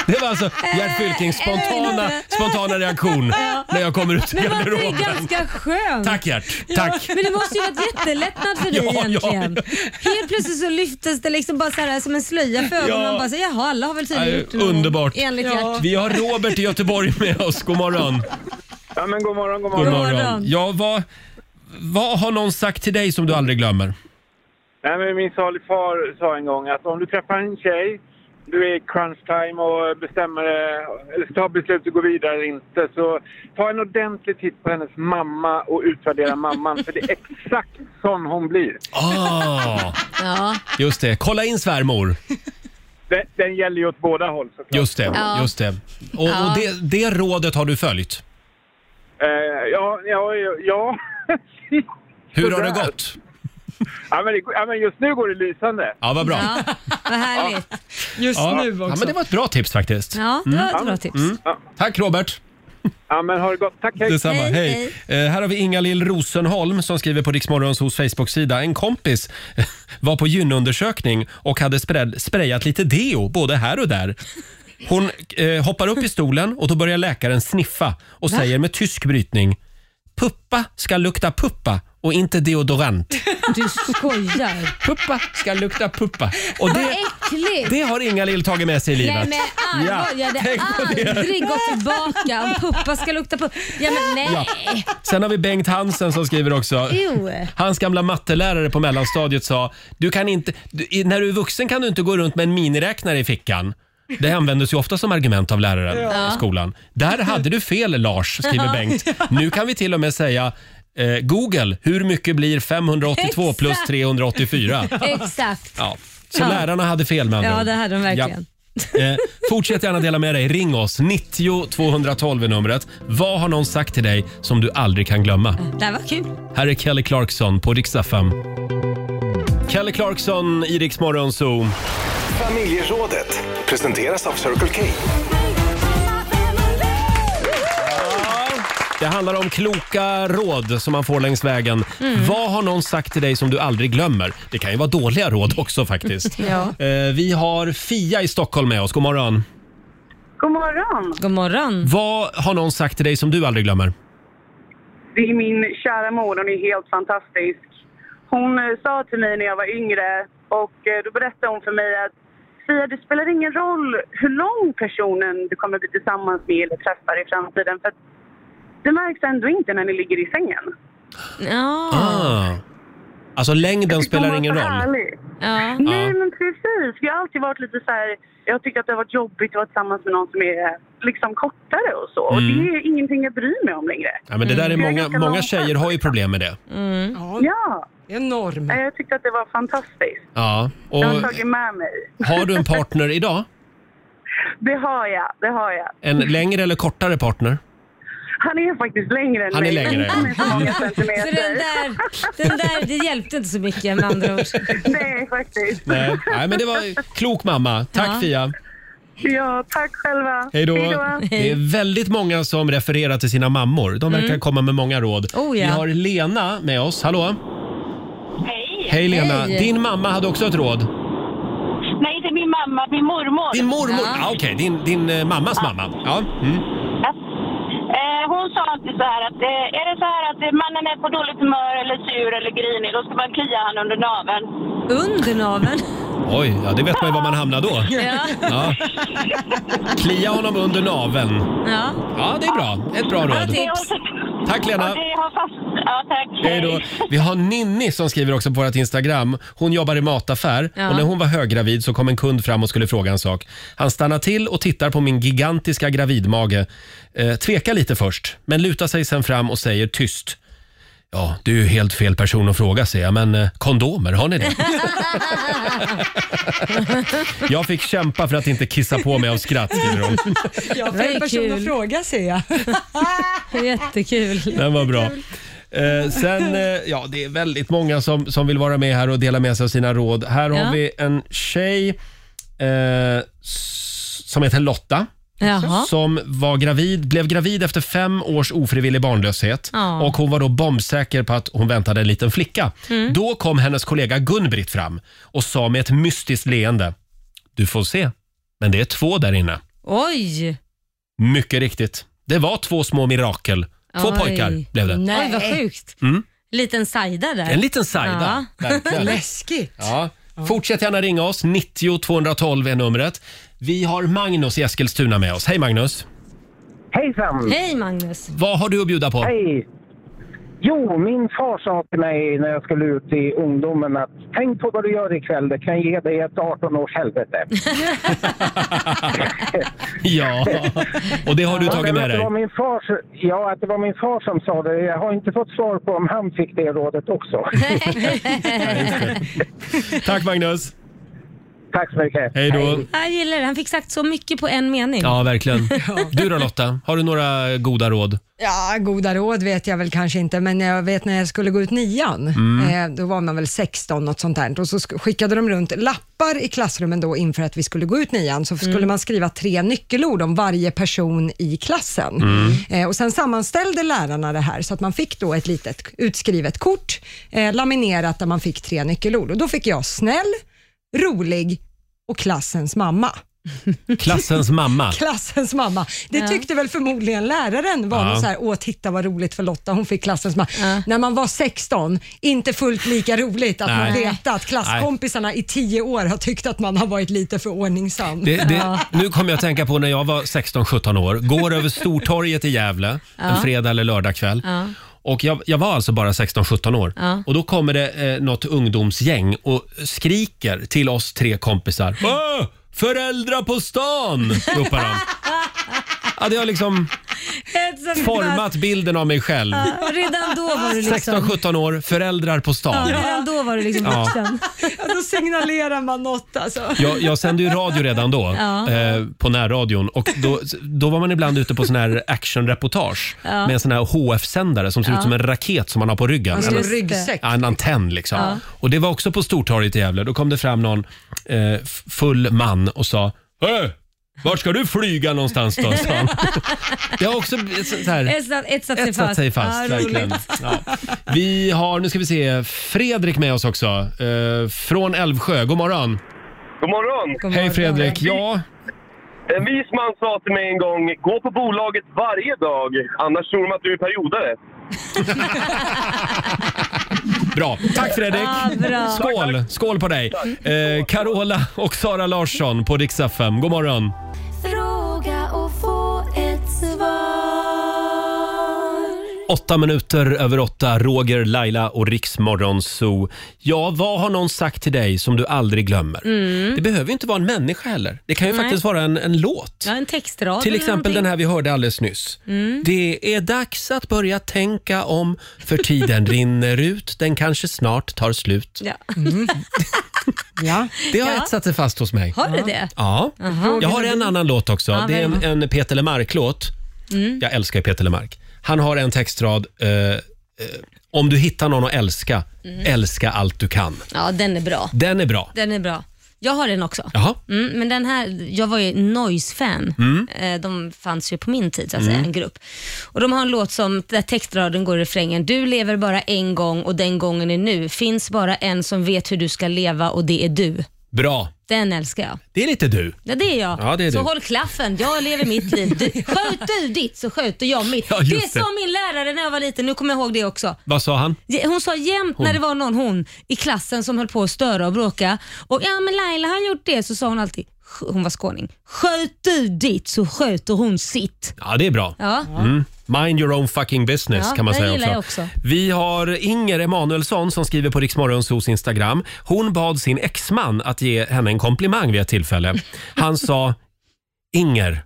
Det var alltså
Eh,
Gert Fylkings spontana, spontana reaktion när jag kommer ut ur
Men var inte eh, det
garderoben.
ganska skönt?
Tack Gert, tack.
Men det måste ju varit jättelättnad för dig
[LAUGHS] Ja, ja,
egentligen. Helt plötsligt så lyftes det liksom bara så här som en slöja för ögonen. Man bara så, Jaha, alla har väl tydligen
Nej,
gjort någon-
Eh, underbart.
Enligt Gert.
Vi har Robert i Göteborg med oss, god morgon.
Ja, men god morgon, god morgon.
God
God morgon.
morgon. Ja, vad, vad har någon sagt till dig som du aldrig glömmer?
Nej, men min salufar sa en gång att om du träffar en tjej, du är i crunch time och bestämmer, eh, eller tar beslut att gå vidare eller inte, så ta en ordentlig titt på hennes mamma och utvärdera mamman, för det är exakt sån hon blir.
Ah,
Ja.
just det, kolla in svärmor.
Den, den gäller ju åt båda håll såklart.
Just det,
Ja.
just det. Och, och det, det rådet har du följt.
Eh, ja, ja, ja. [LAUGHS]
Hur har
Sådär.
det gått?
ja, men det, ja, men just nu går det lysande.
Ja, vad bra.
ja, vad härligt.
Mm.
Just
Ja.
nu
Ja,
också.
men det var ett bra tips faktiskt.
Ja, det
Mm.
var ett bra tips.
Tack Robert.
Ja, men har det gott. Tack, hej.
Detsamma.
Hej,
Hej. Eh, här har vi Inga-Lill Rosenholm som skriver på Riksmorgons hos Facebook-sida. En kompis [LAUGHS] var på gynundersökning och hade spred, sprayat lite deo både här och där. Hon eh, hoppar upp i stolen och då börjar läkaren sniffa och säger med tysk brytning Puppa ska lukta puppa och och inte
[LAUGHS]
deodorant.
Du skojar.
Puppa ska lukta puppa. Och
Vad
det,
äckligt!
det har Inga-Lill tagit med sig i
Nej
livet.
men allvar, jag hade
tänk på det.
aldrig gått tillbaka om puppa ska lukta på... Ja men nej!
Sen har vi Bengt Hansen som skriver också.
Jo.
Hans gamla mattelärare på mellanstadiet sa, du kan inte, du, i- när du är vuxen kan du inte gå runt med en miniräknare i fickan. Det användes ju ofta som argument av läraren
Ja.
i skolan. Där hade du fel Lars, skriver
[LAUGHS] Ja.
Bengt. Nu kan vi till och med säga eh, Google, hur mycket blir 582 plus
Exakt. [LAUGHS]
384?
Exakt.
Ja. Så
Ja.
lärarna hade fel med andra
Ja
ord.
det hade de verkligen.
Ja. Eh, fortsätt gärna dela med dig. Ring oss. 90 212 är numret. Vad har någon sagt till dig som du aldrig kan glömma?
Det här var kul.
Här är Kelly Clarkson på Rix FM. Kelly Clarkson i Rix Morgon Zoo.
Familjerådet presenteras av Circle K.
Det handlar om kloka råd som man får längs vägen. Vad har någon sagt till dig som du aldrig glömmer? Det kan ju vara dåliga råd också faktiskt.
Ja.
Eh, vi har Fia i Stockholm med oss. God morgon.
God morgon.
God morgon.
Vad har någon sagt till dig som du aldrig glömmer?
Det är min kära mor, hon är helt fantastisk. Hon eh, sa till mig när jag var yngre och eh, då berättade hon för mig att Fia, det spelar ingen roll hur lång personen du kommer bli tillsammans med eller träffar i framtiden för att det märks ändå inte när ni ligger i sängen.
Ja.
Ah. Alltså längden
Hon
spelar
var
ingen
så
roll.
härlig.
Ja.
Nej
Ja.
men precis, jag har alltid varit lite så här, jag tycker att det har varit jobbigt att vara tillsammans med någon som är liksom kortare och så och
Mm.
det är ingenting jag bryr mig om längre.
Ja, men det där är
Jag
många,
ganska
många
långsam.
tjejer har ju problem med det.
Ja.
Ja.
Enorm.
Jag tyckte att det var fantastiskt.
Ja. Mm. Och
Jag har tagit med mig.
har du en partner idag?
Det har jag, det har jag.
En längre eller kortare partner?
Han är faktiskt längre än
Han är
mig.
längre.
Han är så
[LAUGHS]
många
Så den
centimeter.
där, den där, det hjälpte inte så mycket med andra ord.
Nej, faktiskt.
Nej, Nej men det var klok mamma. Tack
Ja.
Fia.
Ja, tack själva.
Hej då.
Hej
Det är väldigt många som refererar till sina mammor. De verkar
Mm.
komma med många råd.
Oh, ja.
Vi har Lena med oss. Hallå? Hej. Hej Lena.
Hej.
Din mamma hade också ett råd.
Nej, inte min mamma, min mormor.
Din mormor? Ah, Okej, din, din eh, mammas mamma. Ja. Mm.
Eh, hon sa alltid så här att eh, är det så här att eh, mannen är på dåligt humör eller sur eller grinig, då ska man klia han under naveln.
Under naveln?
Oj, ja, det vet man ju var man hamnar då.
Ja.
Ja. Klia honom under naveln.
Ja.
Ja, det är bra. Ett bra råd. Tack, Lena.
Ja, det har fast... Ja, tack.
Hej då. Vi har Ninni som skriver också på vårt Instagram. Hon jobbar i mataffär
Ja.
och när hon var höggravid så kom en kund fram och skulle fråga en sak. Han stannar till och tittar på min gigantiska gravidmage. Eh, tvekar lite först, men lutar sig sen fram och säger tyst. Ja, du är ju helt fel person att fråga säger jag, men eh, kondomer, har ni det? jag fick kämpa för att inte kissa på mig av skratt, skriver hon.
Ja,
Det är
fel person att
kul.
fråga ser jag.
Jättekul.
Den var bra. Eh, sen, eh, ja det är väldigt många som, som vill vara med här och dela med sig av sina råd. Här
Ja.
har vi en tjej eh, s- som heter Lotta.
Jaha.
Som var gravid, blev gravid efter fem års ofrivillig barnlöshet.
Ja.
Och hon var då bombsäker på att hon väntade en liten flicka.
Mm.
Då kom hennes kollega Gun-Britt fram och sa med ett mystiskt leende. Du får se, men det är två där inne.
Oj!
Mycket riktigt. Det var två små mirakel. Två
Oj.
pojkar blev det.
Oj, vad sjukt.
Mm.
Liten sajda där.
En liten sajda.
Ja.
Verkligen.
Läskigt.
Ja. Fortsätt gärna ringa oss. 90 212 är numret. Vi har Magnus i Eskilstuna med oss. Hej Magnus!
Hejsan!
Hej Magnus.
Vad har du att bjuda på?
Hej! Jo, min far sa till mig när jag skulle ut i ungdomen att tänk på vad du gör ikväll, det kan ge dig ett 18 års helvete.
Ja, och det har du tagit
Men
med
att det
dig.
var min fars, ja, att det var min far som sa det. Jag har inte fått svar på om han fick det rådet också.
Tack Magnus!
Tack så mycket!
Hej då!
Jag gillar det. Han fick sagt så mycket på en mening.
Ja, verkligen. Du då Lotta, har du några goda råd?
Ja, goda råd vet jag väl kanske inte, men jag vet när jag skulle gå ut nian,
Mm.
eh, då var man väl 16, något sånt där. Och så sk- skickade de runt lappar i klassrummen då inför att vi skulle gå ut nian, så skulle man skriva tre nyckelord om varje person i klassen.
Mm.
Eh, och sen sammanställde lärarna det här, så att man fick då ett litet utskrivet kort, eh, laminerat, där man fick tre nyckelord. Och då fick jag snäll, rolig och klassens mamma.
Klassens mamma.
Klassens mamma. Det
Ja.
tyckte väl förmodligen läraren var
Ja.
något så här, åh titta vad roligt för Lotta, hon fick klassens mamma. När man var 16, inte fullt lika roligt att man
Nej.
vet att klasskompisarna i 10 år har tyckt att man har varit lite för ordningsam.
Det, det,
Ja.
Nu kommer jag att tänka på när jag var 16-17 år. Går över Stortorget i Gävle
Ja.
en fredag eller lördagkväll.
Ja.
Och jag, jag var alltså bara 16-17 år.
Ja.
Och då kommer det eh, något ungdomsgäng och skriker till oss tre
[LAUGHS]
kompisar. Åh, föräldrar på stan! ropar de. Ja, det har liksom format bilden av mig själv.
Ja, redan då var du liksom...
16-17 år, föräldrar på
Ja,
stan.
redan då var du liksom
Ja.
vuxen.
Då Alltså, signalerar man något alltså.
Jag, jag sände ju radio redan då,
[LAUGHS] Ja.
eh, på närradion. Och då, då var man ibland ute på sån här actionreportage
Ja.
med en sån här HF-sändare som ser
Ja. Alltså,
ut som en raket som man har på ryggen.
En stor
Eller-
ryggsäck.
Ja, en antenn liksom.
Ja.
Och det var också på Stortorget i Gävle. Då kom det fram någon eh, f- full man och sa Hörru, vart ska du flyga någonstans då? sa
[LAUGHS]
han. Det har också b- så så här,
Etsat, etsat sig
etsat
fast.
sig fast.
Ja, roligt.
verkligen. Ja. Vi har, nu ska vi se, Fredrik med oss också. Eh, från Älvsjö. God morgon.
God morgon!
Hej Fredrik. Ja,
En vis man sa till mig en gång, gå på bolaget varje dag, annars tror de att du är periodare.
Bra. Tack Fredrik.
Ah, bra.
Skål. Skål på dig. Eh, Carola och Sara Larsson på Dix FM. God morgon.
Fråga och få ett svar.
Åtta minuter över åtta. Roger, Laila och Riksmorgon Zoo. Ja, vad har någon sagt till dig som du aldrig glömmer?
Mm.
Det behöver ju inte vara en människa heller. Det kan ju
Nej.
faktiskt vara en, en låt.
Ja, en textrad
Till
eller
exempel den
någonting.
här vi hörde alldeles nyss.
Mm.
Det är dags att börja tänka om, för
[LAUGHS]
tiden rinner ut, den kanske snart tar slut.
Ja.
Ja.
Det har
Ja.
etsat sig fast hos mig.
Har det det?
Ja.
Aha.
Jag har en annan låt också.
Ja,
det är
vad är
en, en Peter Lemark-låt.
Mm.
Jag älskar Peter Lemark. Han har en textrad. Eh, eh, om du hittar någon att älska,
Mm.
älska allt du kan.
Ja, den är bra.
Den är bra.
Den är bra. Jag har den också.
Jaha.
Mm, men den här, jag var ju Noise-fan.
Mm.
Eh, De fanns ju på min tid, så att
Mm.
säga, en grupp. Och De har en låt som, där textraden går i refrängen. Du lever bara en gång och den gången är nu. Finns bara en som vet hur du ska leva och det är du.
Bra.
Den älskar jag.
Det är lite du.
Ja, det är jag.
Ja, det är
så
du.
håll klaffen, jag lever mitt liv. Du, sköt du ditt så sköter jag mitt.
[LAUGHS] Ja, just det.
det sa min lärare när jag var liten, nu kommer jag ihåg det också.
Vad sa han?
Ja, Hon sa jämt när
Hon.
det var någon hon i klassen som höll på att störa och bråka. Och ja men Laila har gjort det, så sa hon alltid, "Sk- hon var skåning, sköt du ditt så sköter hon sitt.
Ja, det är bra.
Ja.
Mm. Mind your own fucking business
Ja,
kan man
den
säga
gillar
också.
jag också.
Vi har Inger Emanuelsson som skriver på Riksmorgonsos Instagram. Hon bad sin exman att ge henne en komplimang vid ett tillfälle.
[LAUGHS]
Han sa Inger,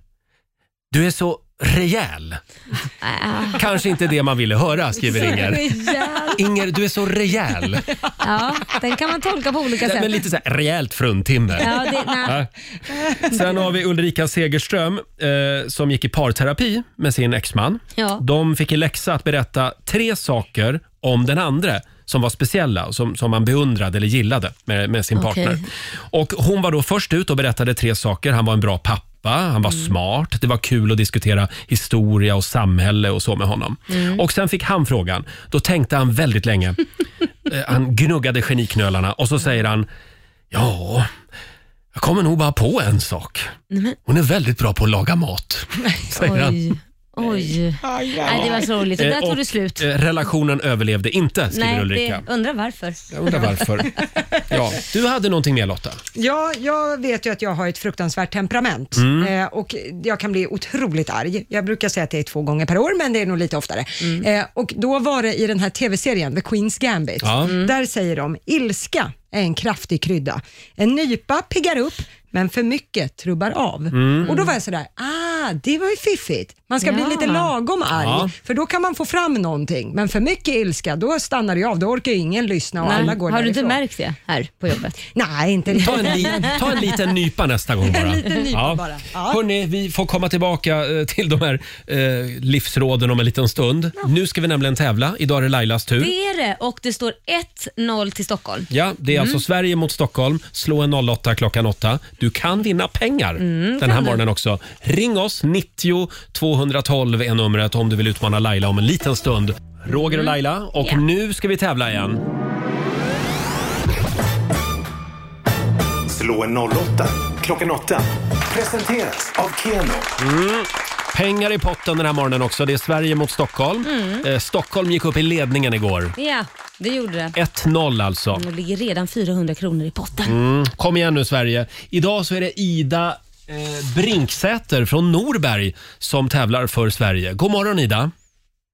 du är så rejäl. Kanske inte det man ville höra, skriver Inger. Inger, du är så
[LAUGHS]
rejäl.
Ja, den kan man tolka på olika
Nej,
sätt.
Men lite så här rejält fruntimmer.
Ja, det- nej.
Ja. Sen har vi Ulrika Segerström eh, som gick i parterapi med sin exman.
Ja.
De fick i läxa att berätta tre saker om den andra som var speciella och som, som man beundrade eller gillade med, med sin
Okej.
partner. Och hon var då först ut och berättade tre saker. Han var en bra pappa. Han
Mm.
var smart, det var kul att diskutera historia och samhälle och så med honom.
Mm.
Och sen fick han frågan. Då tänkte han väldigt
[LAUGHS]
länge. Eh, Han gnuggade geniknölarna och så säger han Ja, jag kommer nog bara på en sak.
Nej, men,
Hon är väldigt bra på att laga mat. Säger han.
oj, oj. Nej, det var så roligt. Det
Eh,
där
och,
tog det slut.
eh, Relationen överlevde inte, skriver
Nej, [LAUGHS]
Ulrika.
det, undrar varför.
Jag undrar varför. Ja, du hade någonting mer Lotta.
Ja, jag vet ju att jag har ett fruktansvärt temperament
Mm.
eh, och jag kan bli otroligt arg. Jag brukar säga att det är två gånger per år, men det är nog lite oftare. Eh, och då var det i den här tv-serien The Queen's Gambit.
Ja. Mm.
Där säger de ilska är en kraftig krydda. En nypa piggar upp, men för mycket trubbar av.
Mm.
Och då var jag sådär, ah, det var ju fiffigt. Man ska
Ja.
bli lite lagom arg,
Ja.
för då kan man få fram någonting. Men för mycket ilska, då stannar det ju av. Då orkar ju ingen lyssna och
Nej.
alla går
Har du inte
därifrån.
märkt det här på jobbet?
Mm.
Nej, inte
Ta en, li-
[LAUGHS]
ta en liten nypa nästa gång bara.
En liten nypa bara. Ja.
Hörni, vi får komma tillbaka eh, till de här eh, livsråden om en liten stund. Nu ska vi nämligen tävla. Idag är det Lailas tur.
Det är det och det står 1-0 till Stockholm.
Ja, det är
Mm.
alltså Sverige mot Stockholm. Slå en 08 klockan 8. Du kan vinna pengar
Mm,
den
kan
här
du.
morgonen också. Ring oss, 90 212 är numret om du vill utmana Laila om en liten stund. Roger och Laila och
Mm. Ja.
nu ska vi tävla igen.
Slå en 08 klockan 8. Presenteras av Keno.
Mm. Pengar i potten den här morgonen också. Det är Sverige mot Stockholm.
Mm.
Eh, Stockholm gick upp i ledningen igår.
Ja, det gjorde det.
1-0 alltså.
Det ligger redan 400 kronor i potten.
Mm. Kom igen nu Sverige. Idag så är det Ida eh, Brinksäter från Norberg som tävlar för Sverige. God morgon Ida.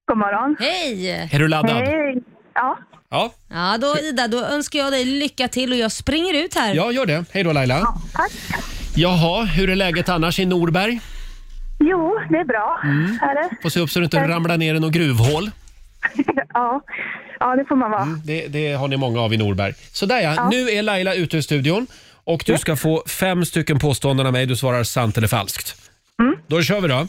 God morgon. Hej!
Är du laddad?
Hej. Ja.
Ja,
Ja, då Ida, då önskar jag dig lycka till och jag springer ut här.
ja gör det. Hej då Laila.
tack.
Jaha, hur är läget annars i Norberg?
Jo, det är bra.
Mm.
Är det?
Får se upp så du inte ramlar ner i något gruvhål.
Ja. ja, det får man vara.
Mm.
Det, det har ni många av i Norberg. Sådär ja,
Ja.
nu är Laila ute ur studion och du ska få fem stycken påståenden av mig. Du svarar sant eller falskt.
Mm.
Då kör vi då.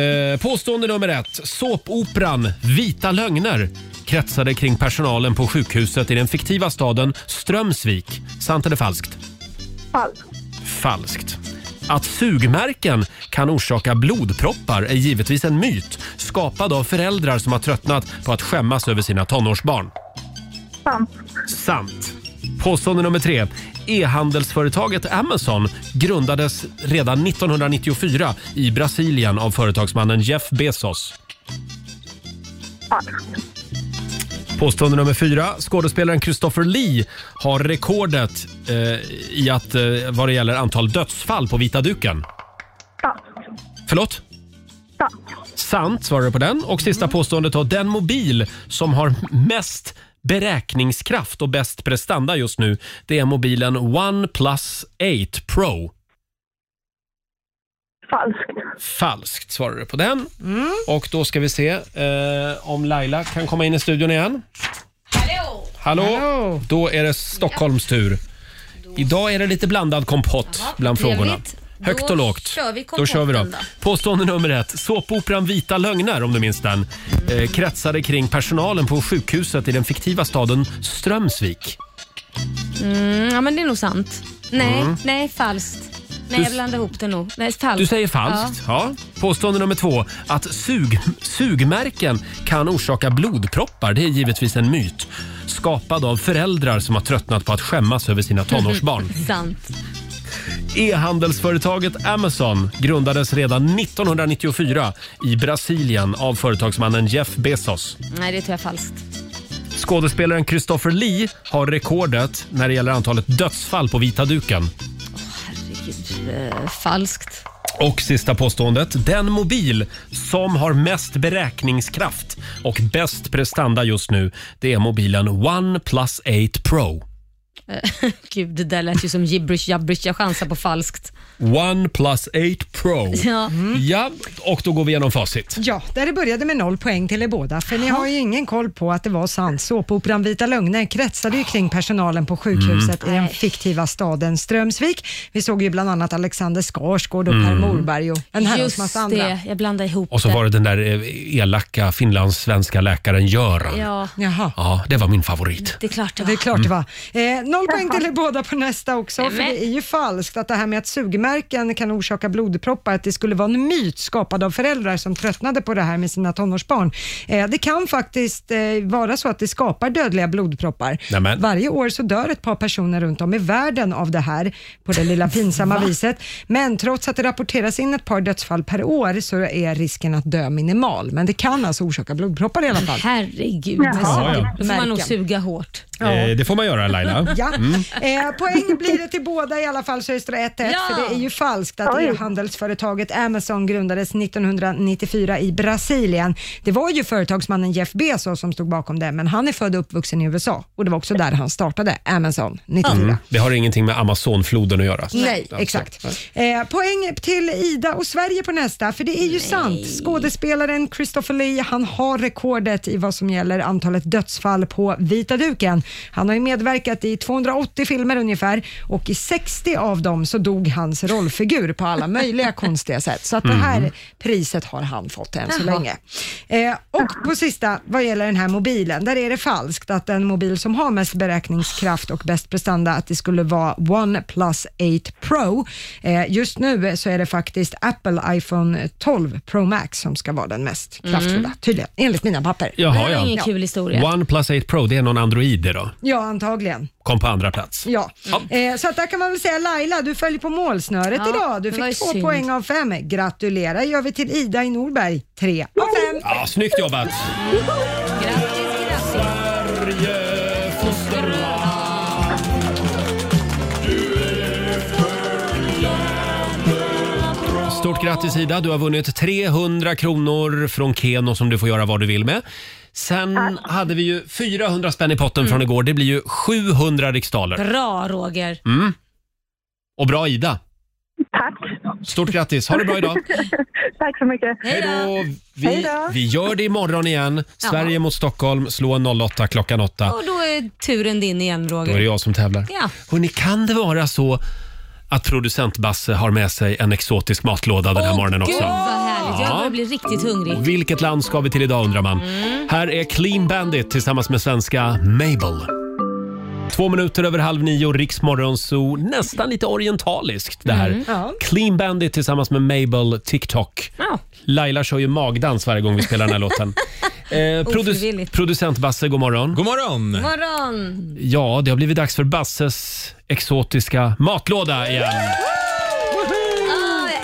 Eh, påstående nummer ett. Såpoperan Vita lögner kretsade kring personalen på sjukhuset i den fiktiva staden Strömsvik. Sant eller falskt?
Falskt.
Falskt. Att sugmärken kan orsaka blodproppar är givetvis en myt skapad av föräldrar som har tröttnat på att skämmas över sina tonårsbarn.
Sant.
Sant. Påstående nummer tre. E-handelsföretaget Amazon grundades redan 1994 i Brasilien av företagsmannen Jeff Bezos. Påstående nummer fyra. Skådespelaren Christopher Lee har rekordet eh, i att, eh, vad det gäller antal dödsfall på vita duken. Förlåt? Sant Mm. svarar du på den. Och sista påståendet då. Den mobil som har mest beräkningskraft och bäst prestanda just nu, det är mobilen OnePlus 8 Pro.
Falskt.
Falskt Mm. svarar du på den. Och då ska vi se eh, om Laila kan komma in i studion igen. Hallå! Då är det Stockholms tur. Idag är det lite blandad kompott bland
trevligt.
frågorna.
Då
Högt och lågt.
kör vi
då kör vi då.
kompotten då.
Påstående nummer ett. Såpoperan Vita lögner, om du minns den, eh, kretsade kring personalen på sjukhuset i den fiktiva staden Strömsvik.
Mm, ja, men det är nog sant. Nej,
Mm.
nej, falskt. Nej,
Du-
jag blandade ihop det nog. Nej, falskt.
Du säger falskt. Ja. Påstående nummer två. Att sug, sugmärken kan orsaka blodproppar, det är givetvis en myt. Skapad av föräldrar som har tröttnat på att skämmas över sina [LAUGHS] tonårsbarn.
sant.
E-handelsföretaget Amazon grundades redan 1994 i Brasilien av företagsmannen Jeff Bezos.
Nej, det tror jag är falskt.
Skådespelaren Christopher Lee har rekordet när det gäller antalet dödsfall på vita duken.
Herregud, eh, falskt.
Och sista påståendet. Den mobil som har mest beräkningskraft och bäst prestanda just nu, det är mobilen OnePlus 8 Pro.
Eh, Gud, det där lät ju som gibberish jabberish. Jag chansar på falskt.
OnePlus 8
[LAUGHS]
Pro.
Ja. Mm.
ja, och då går vi igenom facit.
Ja, där det började med noll poäng till er båda, för ni har ju ingen koll på att det var sant. Såpoperan Vita lögner kretsade ju kring personalen på sjukhuset
Mm.
i den fiktiva staden Strömsvik. Vi såg ju bland annat Alexander Skarsgård och Per
Mm.
Morberg och en herrans
Just
massa andra.
det, jag blandade ihop
Och så
det.
var det den där eh, elaka finlandssvenska läkaren Göran. Ja.
Ja,
Jaha.
det var min favorit.
det är klart det var.
Det är klart det var. Eh, noll poäng till er båda på nästa också, för det är ju falskt att det här med att sugmärken kan orsaka blodproppar, att det skulle vara en myt skapad av föräldrar som tröttnade på det här med sina tonårsbarn. Eh, det kan faktiskt eh, vara så att det skapar dödliga blodproppar.
Nämen.
Varje år så dör ett par personer runt om i världen av det här, på det lilla pinsamma
Va?
viset. Men trots att det rapporteras in ett par dödsfall per år så är risken att dö minimal. Men det kan alltså orsaka blodproppar i alla fall.
Herregud.
Jaha.
Ja, ja.
Då får man nog
Märken.
suga hårt.
Eh, det får man göra Laila.
[LAUGHS] Ja.
Mm.
Eh, poäng blir det till båda i alla fall så det står 1-1 för det är ju falskt att
Oj.
e-handelsföretaget Amazon grundades 1994 i Brasilien. Det var ju företagsmannen Jeff Bezos som stod bakom det men han är född och uppvuxen i USA och det var också där han startade Amazon 94.
Mm. Det har ingenting med Amazonfloden att göra.
Nej,
Alltså.
exakt. Eh, poäng till Ida och Sverige på nästa, för det är ju sant. Skådespelaren Christopher Lee, han har rekordet i vad som gäller antalet dödsfall på vita duken. Han har ju medverkat i 280 filmer ungefär och i 60 av dem så dog hans rollfigur på alla möjliga [LAUGHS] konstiga sätt. Så att det här
Mm.
priset har han fått än så
Jaha.
länge. Eh, och på sista, vad gäller den här mobilen, där är det falskt att den mobil som har mest beräkningskraft och bäst prestanda, att det skulle vara OnePlus 8 Pro. Eh, just nu så är det faktiskt Apple iPhone 12 Pro Max som ska vara den mest kraftfulla,
Mm.
tydligen, enligt mina papper.
Jaha, ja.
kul historia.
OnePlus 8 Pro, det är någon Android det då? då?
Ja, antagligen.
Kom på andra plats.
Ja. Eh, så att där kan man väl säga Laila, du följer på målsnöret
Ja,
idag. Du
det var ju
fick två
synd.
poäng av fem. Gratulerar gör vi till Ida i Norberg. Tre av fem.
Ja, snyggt jobbat! Stort grattis Ida, du har vunnit 300 kronor från Keno som du får göra vad du vill med. Sen hade vi ju 400 spänn i potten från igår. Det blir ju 700 riksdaler.
Bra Roger.
Mm. Och bra Ida! Tack! Stort grattis, ha det bra idag!
Tack så mycket.
Hej då!
Vi, vi gör det imorgon igen.
Ja.
Sverige mot Stockholm, slå 08 klockan 8.
Och då är turen din igen Roger.
Då är det jag som tävlar.
Ja.
Hörrni, kan det vara så att producent Basse har med sig en exotisk matlåda den här morgonen
Gud
också?
vad härligt, jag
Ja.
börjar bli riktigt hungrig.
Vilket land ska vi till idag undrar man.
Mm.
Här är Clean Bandit tillsammans med svenska Mabel. Två minuter över halv nio, Riksmorgon Zoo. Nästan lite orientaliskt det här.
Mm. Ja.
Clean Bandit tillsammans med Mabel TikTok.
Ja.
Laila kör ju magdans varje gång vi spelar den här
[LAUGHS]
låten. Eh, produ-
Ofrivilligt.
producent Basse, god morgon. God
morgon.
Morgon!
Ja, det har blivit dags för Basses exotiska matlåda igen.
Ah, jag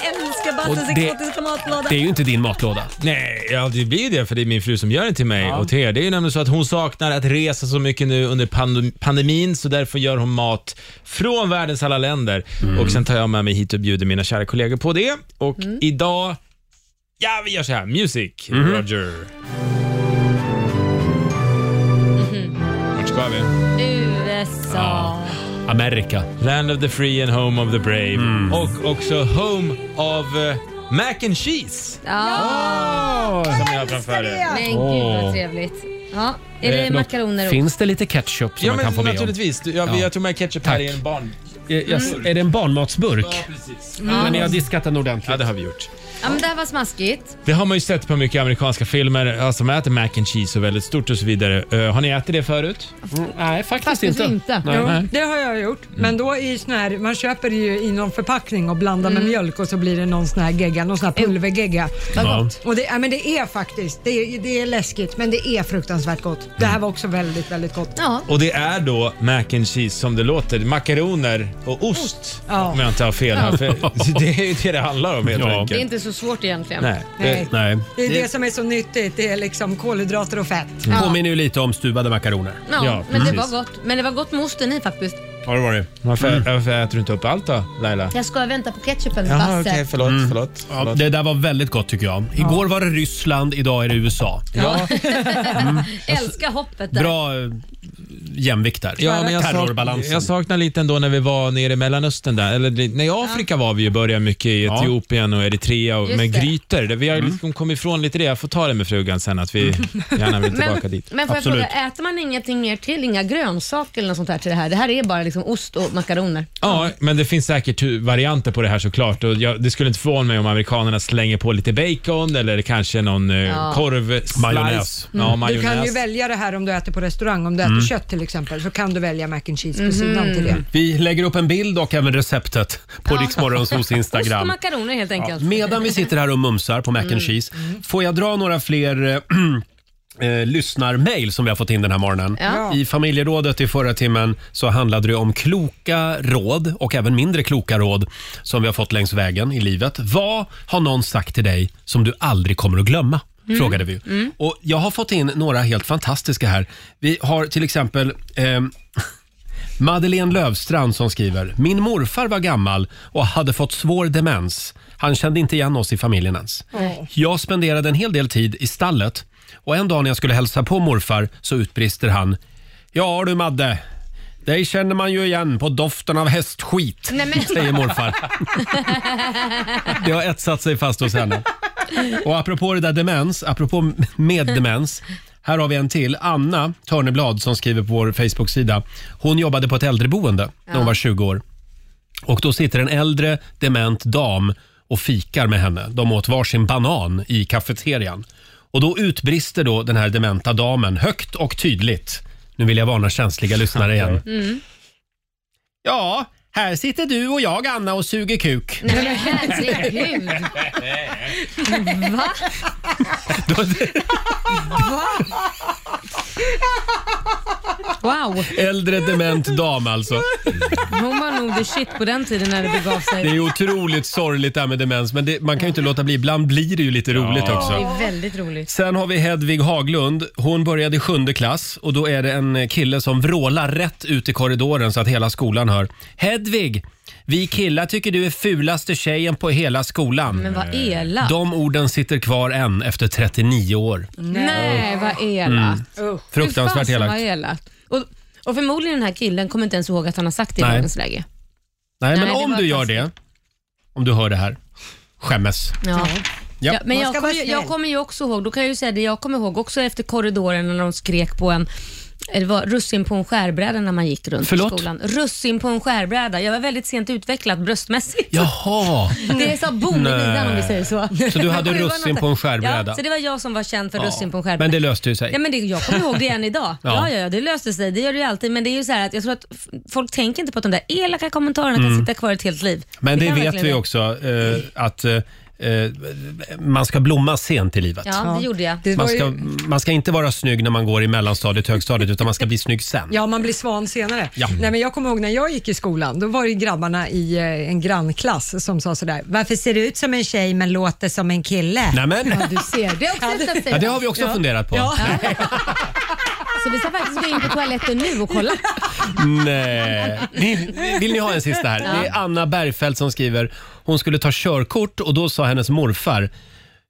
älskar Basses
Och det-
exotiska matlåda.
ju inte din matlåda.
Nej, ja, det blir det för det är min fru som gör den till mig och till er. Det är ju nämligen så att hon saknar att resa så mycket nu under pandem- pandemin så därför gör hon mat från världens alla länder. Och sen tar jag med mig hit och bjuder mina kära kollegor på det. Och idag, ja vi gör så här, music, Roger. Mhm. Vart ska vi?
USA.
Amerika.
Land of the free and home of the brave. Och också home of eh, mac and cheese.
Ja.
Som jag har framför er.
Men gud
Åh.
vad trevligt. Ja, är
Eh,
det
något-
makaroner också?
Finns det lite ketchup som
Ja,
man kan
men
få be om?
naturligtvis. Mm. Du, jag,
Ja.
jag tog med ketchup här i en barn.
Yes. Är det en barnmatsburk?
Ja, precis.
Mm.
Men ni har diskat den ordentligt?
Ja, det har vi gjort.
Ja, men det här var smaskigt.
Det har man ju sett på mycket amerikanska filmer, alltså man äter mac and cheese och väldigt stort och så vidare. Eh, har ni ätit det förut?
Mm, nej, faktiskt,
Faktiskt inte.
inte.
Jo, det har jag gjort. Men då i sån här, man köper det ju i någon förpackning och blandar med mjölk och så blir det någon sån här gegga, någon sån här pulvergegga.
Vad Ja. gott.
Och det, ja, men det är faktiskt, det är, det är läskigt men det är fruktansvärt gott. Det här var också väldigt, väldigt gott.
Ja.
Och det är då mac and cheese som det låter, makaroner och ost.
Ja.
Om jag inte har fel här, för [LAUGHS] det är ju det det handlar om helt
Det är
enkelt.
inte så svårt egentligen.
Nej.
Nej.
Eh,
Nej.
Det är det, som är så nyttigt, det är liksom kolhydrater och fett.
Ja.
Påminner ju lite om stuvade makaroner.
Ja, men det
precis.
var gott. Men det var gott med osten i faktiskt.
Har det varit.
Varför, Mm. varför äter du inte upp allt då, Laila? Mm.
Jag ska vänta på ketchupen med
Jaha,
Basse.
Ah, okej, förlåt, förlåt.
Ja, det där var väldigt gott tycker jag. Igår var det Ryssland, idag är det USA.
Ja,
Älskar hoppet där.
Bra eh, jämvikt där.
ja men jag, sak,
Terrorbalansen.
jag saknar lite ändå när vi var nere i Mellanöstern där. Eller li- nej, i Afrika var vi ju i början mycket i
Ja.
Etiopien och Eritrea och
Just
med
det.
grytor. Det- Vi har ju
Mm.
liksom kommit ifrån lite det. Jag får ta det med frugan sen att vi gärna vill tillbaka
Men,
dit.
men får jag fråga, äter man ingenting mer till? Inga grönsaker eller något sånt här till det här? Det här är bara liksom ost och makaroner.
Ja, men det finns säkert tu- varianter på det här såklart. Och jag, det skulle inte förvåna mig om amerikanerna slänger på lite bacon eller kanske någon
Ja.
ja. korv slice.
Majonnäs.
Ja,
Du kan ju
majonnäs.
välja det här om du äter på restaurang, om du äter kött till exempel så kan du välja mac and cheese på sidan till det.
Vi lägger upp en bild och även receptet på
Ja.
ja.
[LAUGHS]
Riksmorgonsos
Ost och
Instagram.
makaroner helt enkelt. Mm.
Medan vi sitter här och mumsar på mac and cheese, får jag dra några fler eh, [CLEARS THROAT] eh, lyssnarmail som vi har fått in den här morgonen.
Ja.
I familjerådet i förra timmen så handlade det om kloka råd och även mindre kloka råd som vi har fått längs vägen i livet. Vad har någon sagt till dig som du aldrig kommer att glömma?
Mm.
Frågade vi. Och jag har fått in några helt fantastiska här. Vi har till exempel ehm, Madeleine Lövstrand som skriver Min morfar var gammal och hade fått svår demens. Han kände inte igen oss i familjen ens. Jag spenderade en hel del tid i stallet och en dag när jag skulle hälsa på morfar så utbrister han Ja du Madde, dig känner man ju igen på doften av hästskit,
Nej, men-
säger
[LAUGHS]
morfar. Det har etsat sig fast hos henne. Och apropå det där demens, apropå med
Mm.
demens. Här har vi en till. Anna Törneblad som skriver på vår Facebook-sida. Hon jobbade på ett äldreboende när hon var 20 år. Och då sitter en äldre dement dam och fikar med henne. De åt varsin banan i kafeterian. Och då utbrister då den här dementa damen högt och tydligt. Nu vill jag varna känsliga lyssnare igen.
[LAUGHS] Mm.
Ja, här sitter du och jag Anna och suger kuk.
Nej men herregud. Va?
[LAUGHS] Då-
Va? Wow.
Äldre dement dam alltså.
Hon var nog the shit på den tiden när det begav sig.
Det är ju otroligt sorgligt det här med demens men det, man kan ju inte låta bli. Ibland blir det ju lite roligt
Ja, Det
också.
är väldigt roligt.
Sen har vi Hedvig Haglund. Hon började i sjunde klass och då är det en kille som vrålar rätt ut i korridoren så att hela skolan hör. Hedvig! Vi killar tycker du är fulaste tjejen på hela skolan.
Men vad elakt.
Mm. De orden sitter kvar än efter 39 år.
Nej, vad elakt.
Mm.
Mm.
Fruktansvärt elakt.
elakt. Och, och förmodligen den här killen kommer inte ens ihåg att han har sagt det i
Nej.
dagens läge.
Nej,
Nej,
men
det
om
var
du gör det, om du hör det här, skämmes.
Ja.
Ja.
Ja.
Man
men
ska
jag
vara
kommer, ju-
snäll.
jag kommer ju också ihåg, då kan jag ju säga det, jag kommer ihåg också efter korridoren när de skrek på en eh, det var russin på en skärbräda när man gick runt
Förlåt?
i skolan. Russin på en skärbräda. Jag var väldigt sent utvecklad bröstmässigt.
Jaha!
[LAUGHS] Det är så bon i midjan om vi säger så.
Så du hade
Men [LAUGHS] det var
russin
något-
på en skärbräda?
Ja, så det var jag som var känd för
Ja.
russin på en skärbräda.
Men det löste ju sig.
Ja, men det, jag kommer ihåg det än idag.
Ja.
ja. Ja, ja, det löste sig. Det gör det ju alltid. Men det är ju så här att jag tror att f- folk tänker inte på att de där elaka kommentarerna
Mm.
kan sitta kvar ett helt liv.
Men det,
kan
vet
verkligen
vi
det.
också eh, att eh, eh, man ska blomma sent i livet.
Ja, det gjorde jag.
Man ska, man ska inte vara snygg när man går i mellanstadiet och högstadiet utan man ska bli snygg sen.
Ja, man blir svan senare.
Ja. Mm.
Nej, men jag kommer ihåg när jag gick i skolan, då var det grabbarna i eh, en grannklass som sa sådär, varför ser du ut som en tjej men låter som en kille?
Nämen.
Ja, du ser. Det är också ett sätt att säga.
Ja, det har vi också funderat på.
Ja.
[LAUGHS]
Så vi ska faktiskt gå in på toaletten nu och kolla.
Nej. Ni, vill ni ha en sista här?
Ja.
Det är Anna Bergfeldt som skriver. Hon skulle ta körkort och då sa hennes morfar.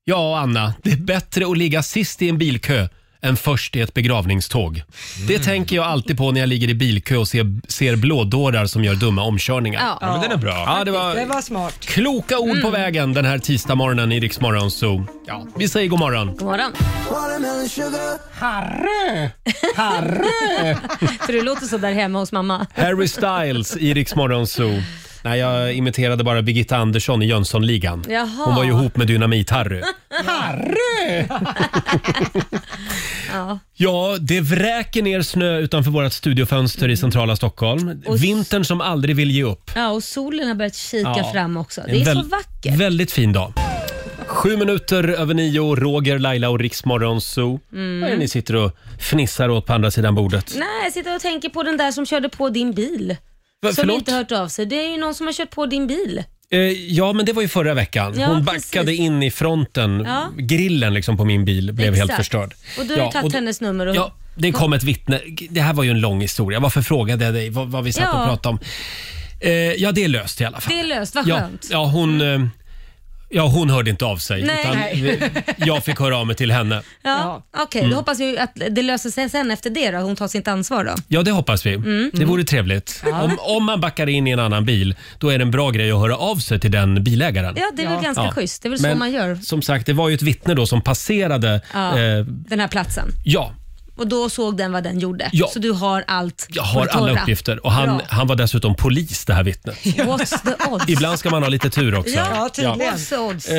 Ja, Anna, det är bättre att ligga sist i en bilkö än först i ett begravningståg.
Mm.
Det tänker jag alltid på när jag ligger i bilkö och ser, ser blådårar som gör dumma omkörningar.
Ja. Ja, men den är bra.
Ja, det var
Det var Mm. smart.
kloka ord på vägen den här tisdagsmorgonen i Rix Morgon Zoo. Ja, vi säger [LAUGHS] god morgon.
God morgon.
Harry! Harry!
För du låter så där hemma hos mamma.
Harry Styles i Rix Morgon Zoo. Nej, jag imiterade bara Birgitta Andersson i Jönssonligan.
Jaha.
Hon var ju ihop med Dynamit-Harry.
Harry! [LAUGHS] ja.
Ja, det vräker ner snö utanför vårt studiofönster i centrala Stockholm.
Och-
Vintern som aldrig vill ge upp.
ja, och solen har börjat kika
Ja.
fram också.
En
Det är så
väl-
vackert.
Väldigt fin dag. Sju minuter över nio, Roger, Laila och Rix Morgon Zoo.
Mm.
Vad är det ni sitter och fnissar åt på andra sidan bordet?
Nej, jag sitter och tänker på den där som körde på din bil.
Va,
som
förlåt?
inte hört av sig. Det är ju någon som har kört på din bil.
Eh, ja, men det var ju förra veckan.
Ja,
Hon backade
precis.
in i fronten.
Ja.
Grillen liksom på min bil blev helt
Exakt.
förstörd.
Och du har
Ja,
ju tagit
och-
hennes nummer. Och...
Ja, det kom ett vittne. Det här var ju en lång historia. Varför frågade jag dig vad, vad vi satt
Ja.
och pratade om? Eh, ja, det är löst i alla fall.
Det är löst, vad
ja,
skönt.
ja, hon, eh, ja, hon hörde inte av sig.
Nej.
Utan
Nej.
vi- jag fick höra av mig till henne.
Ja. Okej,
Mm.
då hoppas vi att det löser sig sen efter det då. Hon tar sitt ansvar då.
Ja, det hoppas vi.
Mm.
Det vore trevligt.
Ja.
Om, om man backar in i en annan bil, då är det en bra grej att höra av sig till den bilägaren.
Ja, det är väl ganska schysst. Det är väl så man gör.
Som sagt, det var ju ett vittne då som passerade.
Ja,
eh,
Den här platsen.
ja
Och då såg den vad den gjorde.
Ja.
Så du har allt
jag har
på det torra.
alla uppgifter. Och han,
Bra.
han var dessutom polis, det här
[LAUGHS]
vittnet.
What's the
[LAUGHS]
odds?
Ibland ska man ha lite tur också.
Ja, tydligen.
Ja.
What's the odds?
Eh,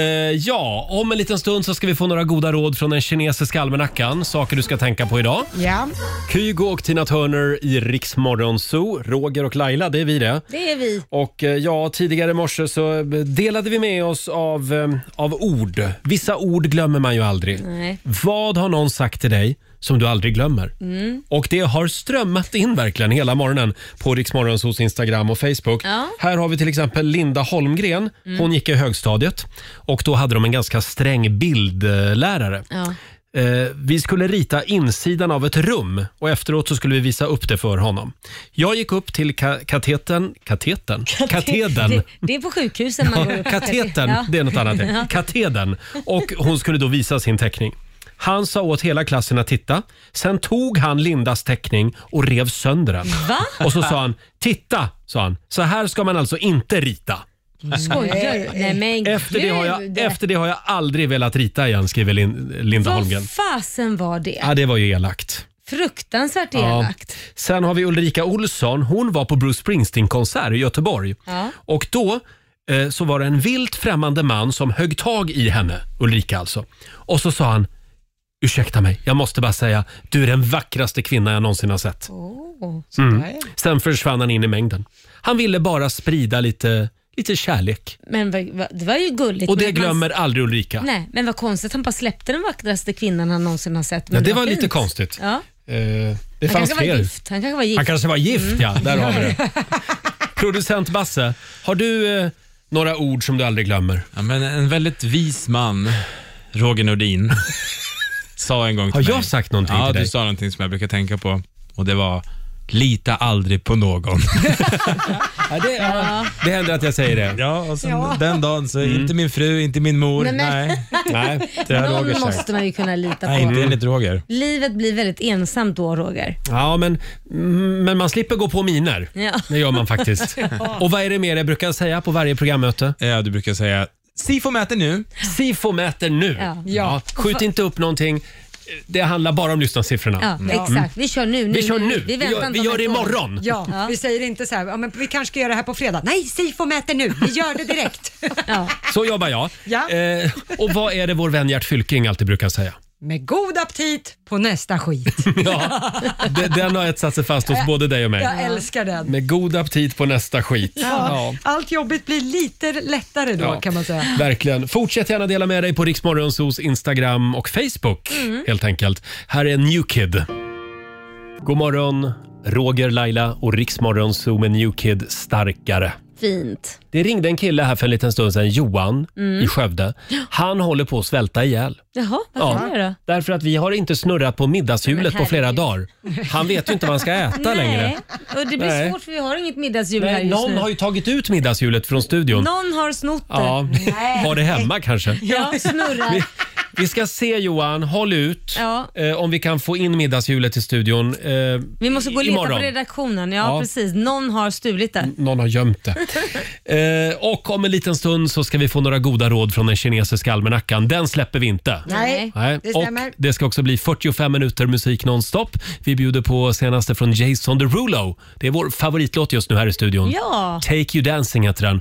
ja, om en liten stund så ska vi få några goda råd från den kinesiska almanackan. Saker du ska tänka på idag.
Ja.
Kygo och Tina Turner i Rix Morgon Zoo. Roger och Laila, det är vi det.
Det är vi.
Och eh, ja, tidigare i morse så eh, delade vi med oss av, eh, av ord. Vissa ord glömmer man ju aldrig.
Nej.
Vad har någon sagt till dig som du aldrig glömmer?
Mm.
Och det har strömmat in verkligen hela morgonen på Riksmorgons hos Instagram och Facebook.
Ja.
Här har vi till exempel Linda Holmgren. Hon
Mm.
gick i högstadiet och då hade de en ganska sträng bildlärare.
Ja.
Eh, vi skulle rita insidan av ett rum och efteråt så skulle vi visa upp det för honom. Jag gick upp till ka- kateten, kateten, katedern.
Det, det är på sjukhusen man går upp.
Kateten,
Ja.
det är något annat. det.
[LAUGHS] Ja.
Katedern. Och hon skulle då visa sin teckning. Han sa åt hela klassen att titta. Sen tog han Lindas teckning och rev sönder den.
Va?
Och så sa han, titta, sa han. Så här ska man alltså inte rita.
Skojar du? Nej men
Efter det, har jag,
gud.
efter det har jag aldrig velat rita igen, skriver Lin, Linda Holmgren.
Vad fasen var det?
Ja, det var ju elakt.
Fruktansvärt
Ja.
elakt.
Sen har vi Ulrika Olsson. Hon var på Bruce Springsteen-konsert i Göteborg.
Ja.
Och då eh, så var det en vilt främmande man som högg tag i henne, Ulrika alltså. Och så sa han, ursäkta mig, jag måste bara säga, du är den vackraste kvinna jag någonsin har sett. Mm. Sen försvann han in i mängden. Han ville bara sprida lite, lite kärlek.
Men vad- vad- det var ju gulligt.
Och det
men man-
glömmer aldrig Ulrika.
Nej, men vad konstigt. Han bara släppte den vackraste kvinnan han någonsin har sett. Men
Ja, det var
fint.
lite konstigt.
Ja.
Eh, det
Han
fanns
kanske var
fler.
gift. Han kanske var gift.
Han kanske var gift,
Mm.
ja. Där har vi
[LAUGHS]
det. Producent Basse, har du eh, några ord som du aldrig glömmer?
Ja, men en väldigt vis man, Roger Nordin, [LAUGHS] sa en gång till
Har jag
mig-
sagt någonting
ja,
till dig?
du sa någonting som jag brukar tänka på och det var Lita aldrig på någon.
Ja, det, ja. det händer att jag säger det.
Ja, och sen
Ja.
den dagen så
Mm.
inte min fru, inte min mor.
Nej,
Nej,
men-
nej. det har Roger
Någon
sagt.
måste man ju kunna lita
Nej,
på.
inte enligt Roger.
Livet blir väldigt ensamt då, Roger.
Ja, men, mm, men man slipper gå på miner.
Ja.
Det gör man faktiskt.
[LAUGHS] Ja.
Och vad är det mer jag brukar säga på varje programmöte?
Ja, du brukar säga Sifo mäter nu.
Sifo mäter nu.
Ja.
Ja.
Ja.
Skjut inte upp någonting. Det handlar bara om lyssnarsiffrorna.
Ja,
Mm.
Exakt, vi kör nu. nu
Vi kör nu.
Vi,
Vi
väntar
gör-
inte
vi
om
gör
ett
det
år.
imorgon.
Ja, vi säger inte så här, ja, men vi kanske ska göra det här på fredag. Nej, Sifo mäter nu. Vi gör det [LAUGHS] direkt.
Så jobbar jag. Eh, och vad är det vår vän Gert Fylking alltid brukar
[LAUGHS]
säga?
Med god aptit på nästa skit.
[LAUGHS] Ja, de- den har etsat sig fast hos både dig och mig.
[LAUGHS] Jag älskar den.
Med god aptit på nästa skit.
Ja. Allt jobbigt blir lite lättare då
Ja.
kan man säga.
Verkligen. Fortsätt gärna dela med dig på Riksmorgonsos Instagram och Facebook.
Mm.
helt enkelt. Här är New Kid. God morgon, Roger, Laila och Riksmorgonso med New Kid starkare.
Fint.
Det ringde en kille här för en liten stund sedan, Johan
Mm.
i Skövde. Han håller på att svälta ihjäl.
Jaha, varför det då?
därför att vi har inte snurrat på middagshjulet
Men
på flera
herregud.
dagar. Han vet ju inte vad han ska äta
Nej,
längre.
och det blir
Nej.
svårt för vi har inget middagshjul här
Nej,
just
någon
nu.
har ju tagit ut middagshjulet från studion.
Någon har snott det.
Ja,
Nej.
har det hemma kanske.
Ja,
[LAUGHS]
snurrat.
Vi, vi ska se Johan, håll ut.
Ja.
Eh, om vi kan få in middagshjulet till studion eh,
Vi måste gå och leta
imorgon.
på redaktionen. Ja,
Ja.
precis. Någon har stulit det.
Någon har gömt det. Eh, och om en liten stund så ska vi få några goda råd från den kinesiska almanackan. Den släpper vi inte.
Nej, det
och
stämmer.
det ska också bli 45 minuter musik nonstop. Vi bjuder på senaste från Jason Derulo. Det är vår favoritlåt just nu här i studion.
Ja.
Take You Dancing heter den.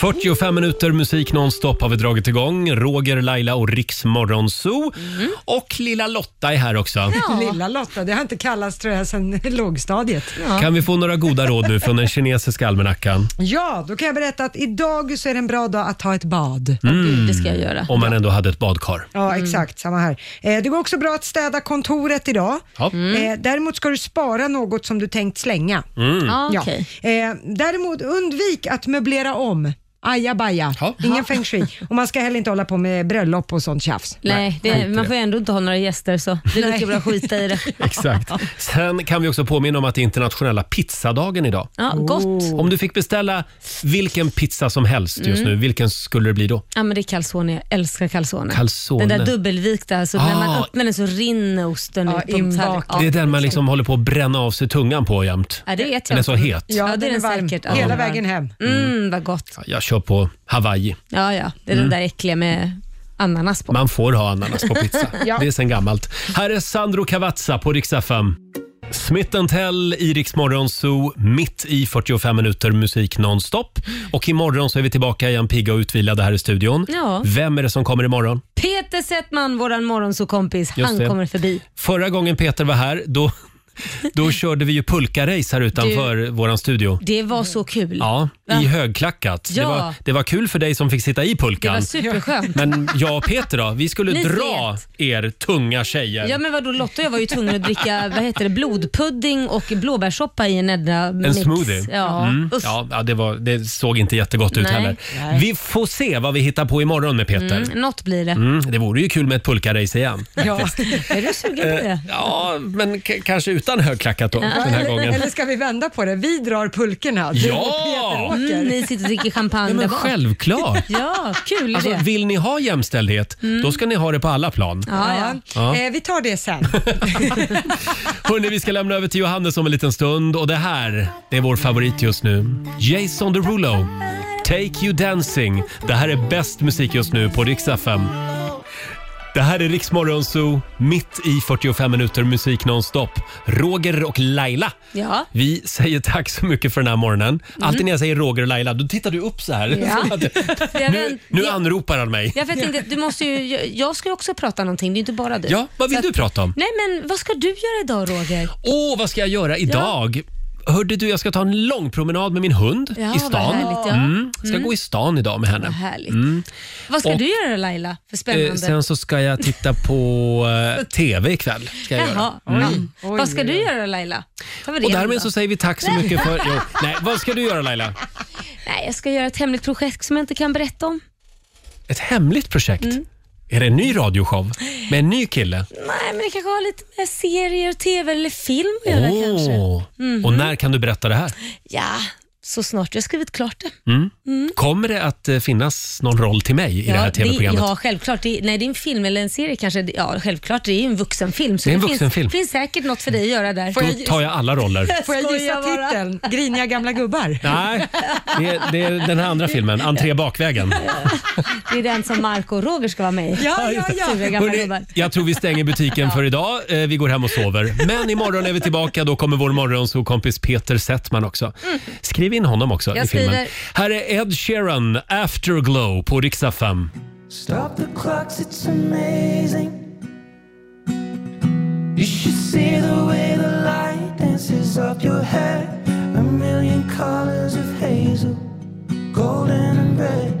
45 minuter musik nonstop har vi dragit igång. Roger, Laila och Riks Morgonzoo.
Mm.
Och lilla Lotta är här också.
Lilla Lotta, det har inte kallats tror jag sedan lågstadiet.
Kan vi få några goda råd nu från den kinesiska almanackan?
Ja, då kan jag berätta att idag så är det en bra dag att ta ett bad.
Mm. Om man ändå hade ett badkar.
Ja, exakt. Samma här. Eh, det går också bra att städa kontoret idag.
Ja. Mm.
Eh, däremot ska du spara något som du tänkt slänga.
Mm. Ja,
Ja.
okej.
Eh, däremot undvik att möblera om. Ajabaja, ingen
[LAUGHS]
feng shui. Och man ska heller inte hålla på med bröllop och sånt tjafs.
Nej, det, man får ju ändå inte ha några gäster så det är lika bra att skita i det.
Exakt. Sen kan vi också påminna om att det är internationella pizzadagen idag.
Ja, gott.
Om du fick beställa vilken pizza som helst just
Mm.
nu, vilken skulle det bli då?
Ja, men det är calzone. Jag älskar calzone.
Calzone.
Den där dubbelvikta, så när man
Ah.
öppnar den så rinner osten ut på tallriken. Ja,
Det är den man liksom håller på att bränna av sig tungan på jämt.
Ja, det vet jag.
Den är så
inte.
het.
Ja, det är den säkert. Ja,
Hela
den är varm.
vägen hem.
[LAUGHS]
Mm, vad gott.
Jag kör på Hawaii.
Ja, ja. Det är
Mm.
den där äckliga med ananas på.
Man får ha ananas på
[LAUGHS]
pizza.
Ja.
Det är sen gammalt. Här är Sandro Cavazza på Rix FM. Smith Tell i Rix Morgon Zoo, mitt i 45 minuter musik nonstop. Och imorgon så är vi tillbaka igen pigga och utvilade här i studion.
Ja.
Vem är det som kommer imorgon?
Peter Settman, våran morgonsåkompis,
Just
han
det.
kommer förbi.
Förra gången Peter var här, då, [LAUGHS] då körde vi ju pulkarace här utanför våran studio.
Det var så kul.
Ja,
Va?
i högklackat.
Ja.
Det, var, det var kul för dig som fick sitta i
Det
pulkan. [LAUGHS]
var superskönt.
Men jag och Peter då, vi skulle
Ni
dra er tunga tjejer.
Ja men vadå Lotta och jag var ju tvungna att dricka vad heter det, blodpudding och blåbärssoppa i en ädra
En
mix.
smoothie.
Ja.
Mm.
Usch.
Ja, ja, det, var, det såg inte jättegott ut
Nej.
heller.
Nej.
Vi får se vad vi hittar på imorgon med Peter.
Mm,
Mm.
något blir det.
det vore ju kul med ett pulkarace igen.
Ja.
faktiskt.
Är du sugen på [LAUGHS] det?
Ja, men k- kanske utan högklackat då, den här
eller,
[LAUGHS]
gången.
[LAUGHS] eller ska vi vända på det? Vi drar pulkorna. Du
Ja!
och Peter åker.
Mm, ni sitter och dricker champagne
Ja, men
där bak. [LAUGHS]
självklart.
Ja, kul
Alltså,
idé.
vill ni ha jämställdhet,
Mm.
då ska ni ha det på alla plan.
Ja, ja.
Ja.
Eh, vi tar det
[LAUGHS]
sen.
Hörrni, vi ska lämna över till Johannes om en liten stund och det här, det är vår favorit just nu. Jason Derulo, Take You Dancing. Det här är bäst musik just nu på Rix FM. Det här är Rix Morgon Zoo, mitt i 45 minuter musik nonstop. Roger och Laila.
Ja.
Vi säger tack så mycket för den här morgonen. Alltid när jag säger Roger och Laila, då tittar du upp så här. [LAUGHS]
Ja. Jag, vänt,
Nu anropar han mig.
jag, tänkte, du måste ju, jag- jag ska ju också prata någonting, det är inte bara du.
Ja, vad vill
Så
du
att-
prata om?
Nej men vad ska du göra idag Roger?
Åh, vad ska jag göra idag? Hörde du, jag ska ta en lång promenad med min hund
Ja,
i
vad
stan.
härligt, ja.
mm, ska
Mm.
gå i stan idag med henne.
Vad härligt.
Mm.
Vad ska
Och,
du göra då Laila? För spännande.
eh, Sen så ska jag titta på
[LAUGHS]
eh, TV ikväll. Ska jag
Jaha.
göra. Mm.
Mm. Vad ska du göra då Laila? Ta väl
Och
igen
därmed
då.
så säger vi tack så mycket
[LAUGHS]
för... Jo, nej, vad ska du göra Laila?
Nej, jag ska göra ett hemligt projekt som jag inte kan berätta om.
Ett hemligt projekt?
Mm.
Är det en ny radioshow med en ny kille?
Nej, men det kanske har lite med serier, tv eller film att göra kanske.
Åh.
Mhm.
Och när kan du berätta det här?
Ja, så snart jag skrivit klart det.
Mm.
Mm.
Kommer det att eh, finnas någon roll till mig i det här tv-programmet?
Ja, självklart. Det, nej, det är en film eller en serie kanske. Det- Ja, självklart. Det är ju en vuxenfilm. Så
Det är en
Finns,
vuxenfilm.
finns säkert något för dig att göra där.
Då tar jag alla roller.
Får jag gissa titeln? Griniga gamla gubbar?
Nej, det är, det är den här andra filmen, Entré bakvägen.
Det är den som Marco och Roger ska vara med i.
Ja, ja, ja.
Sura gamla
Hörrni,
gubbar.
Jag tror vi stänger butiken för idag. Eh, Vi går hem och sover. Men imorgon är vi tillbaka. Då kommer vår morgonsåkompis Peter Settman också. Skriv in honom också
Mm. Jag
i filmen.
skriver.
Här är Ed Sheeran, Afterglow på riksdag 5.
Stop the clocks, it's amazing. You should see the way the light dances up your hair. A million colors of hazel, golden and red.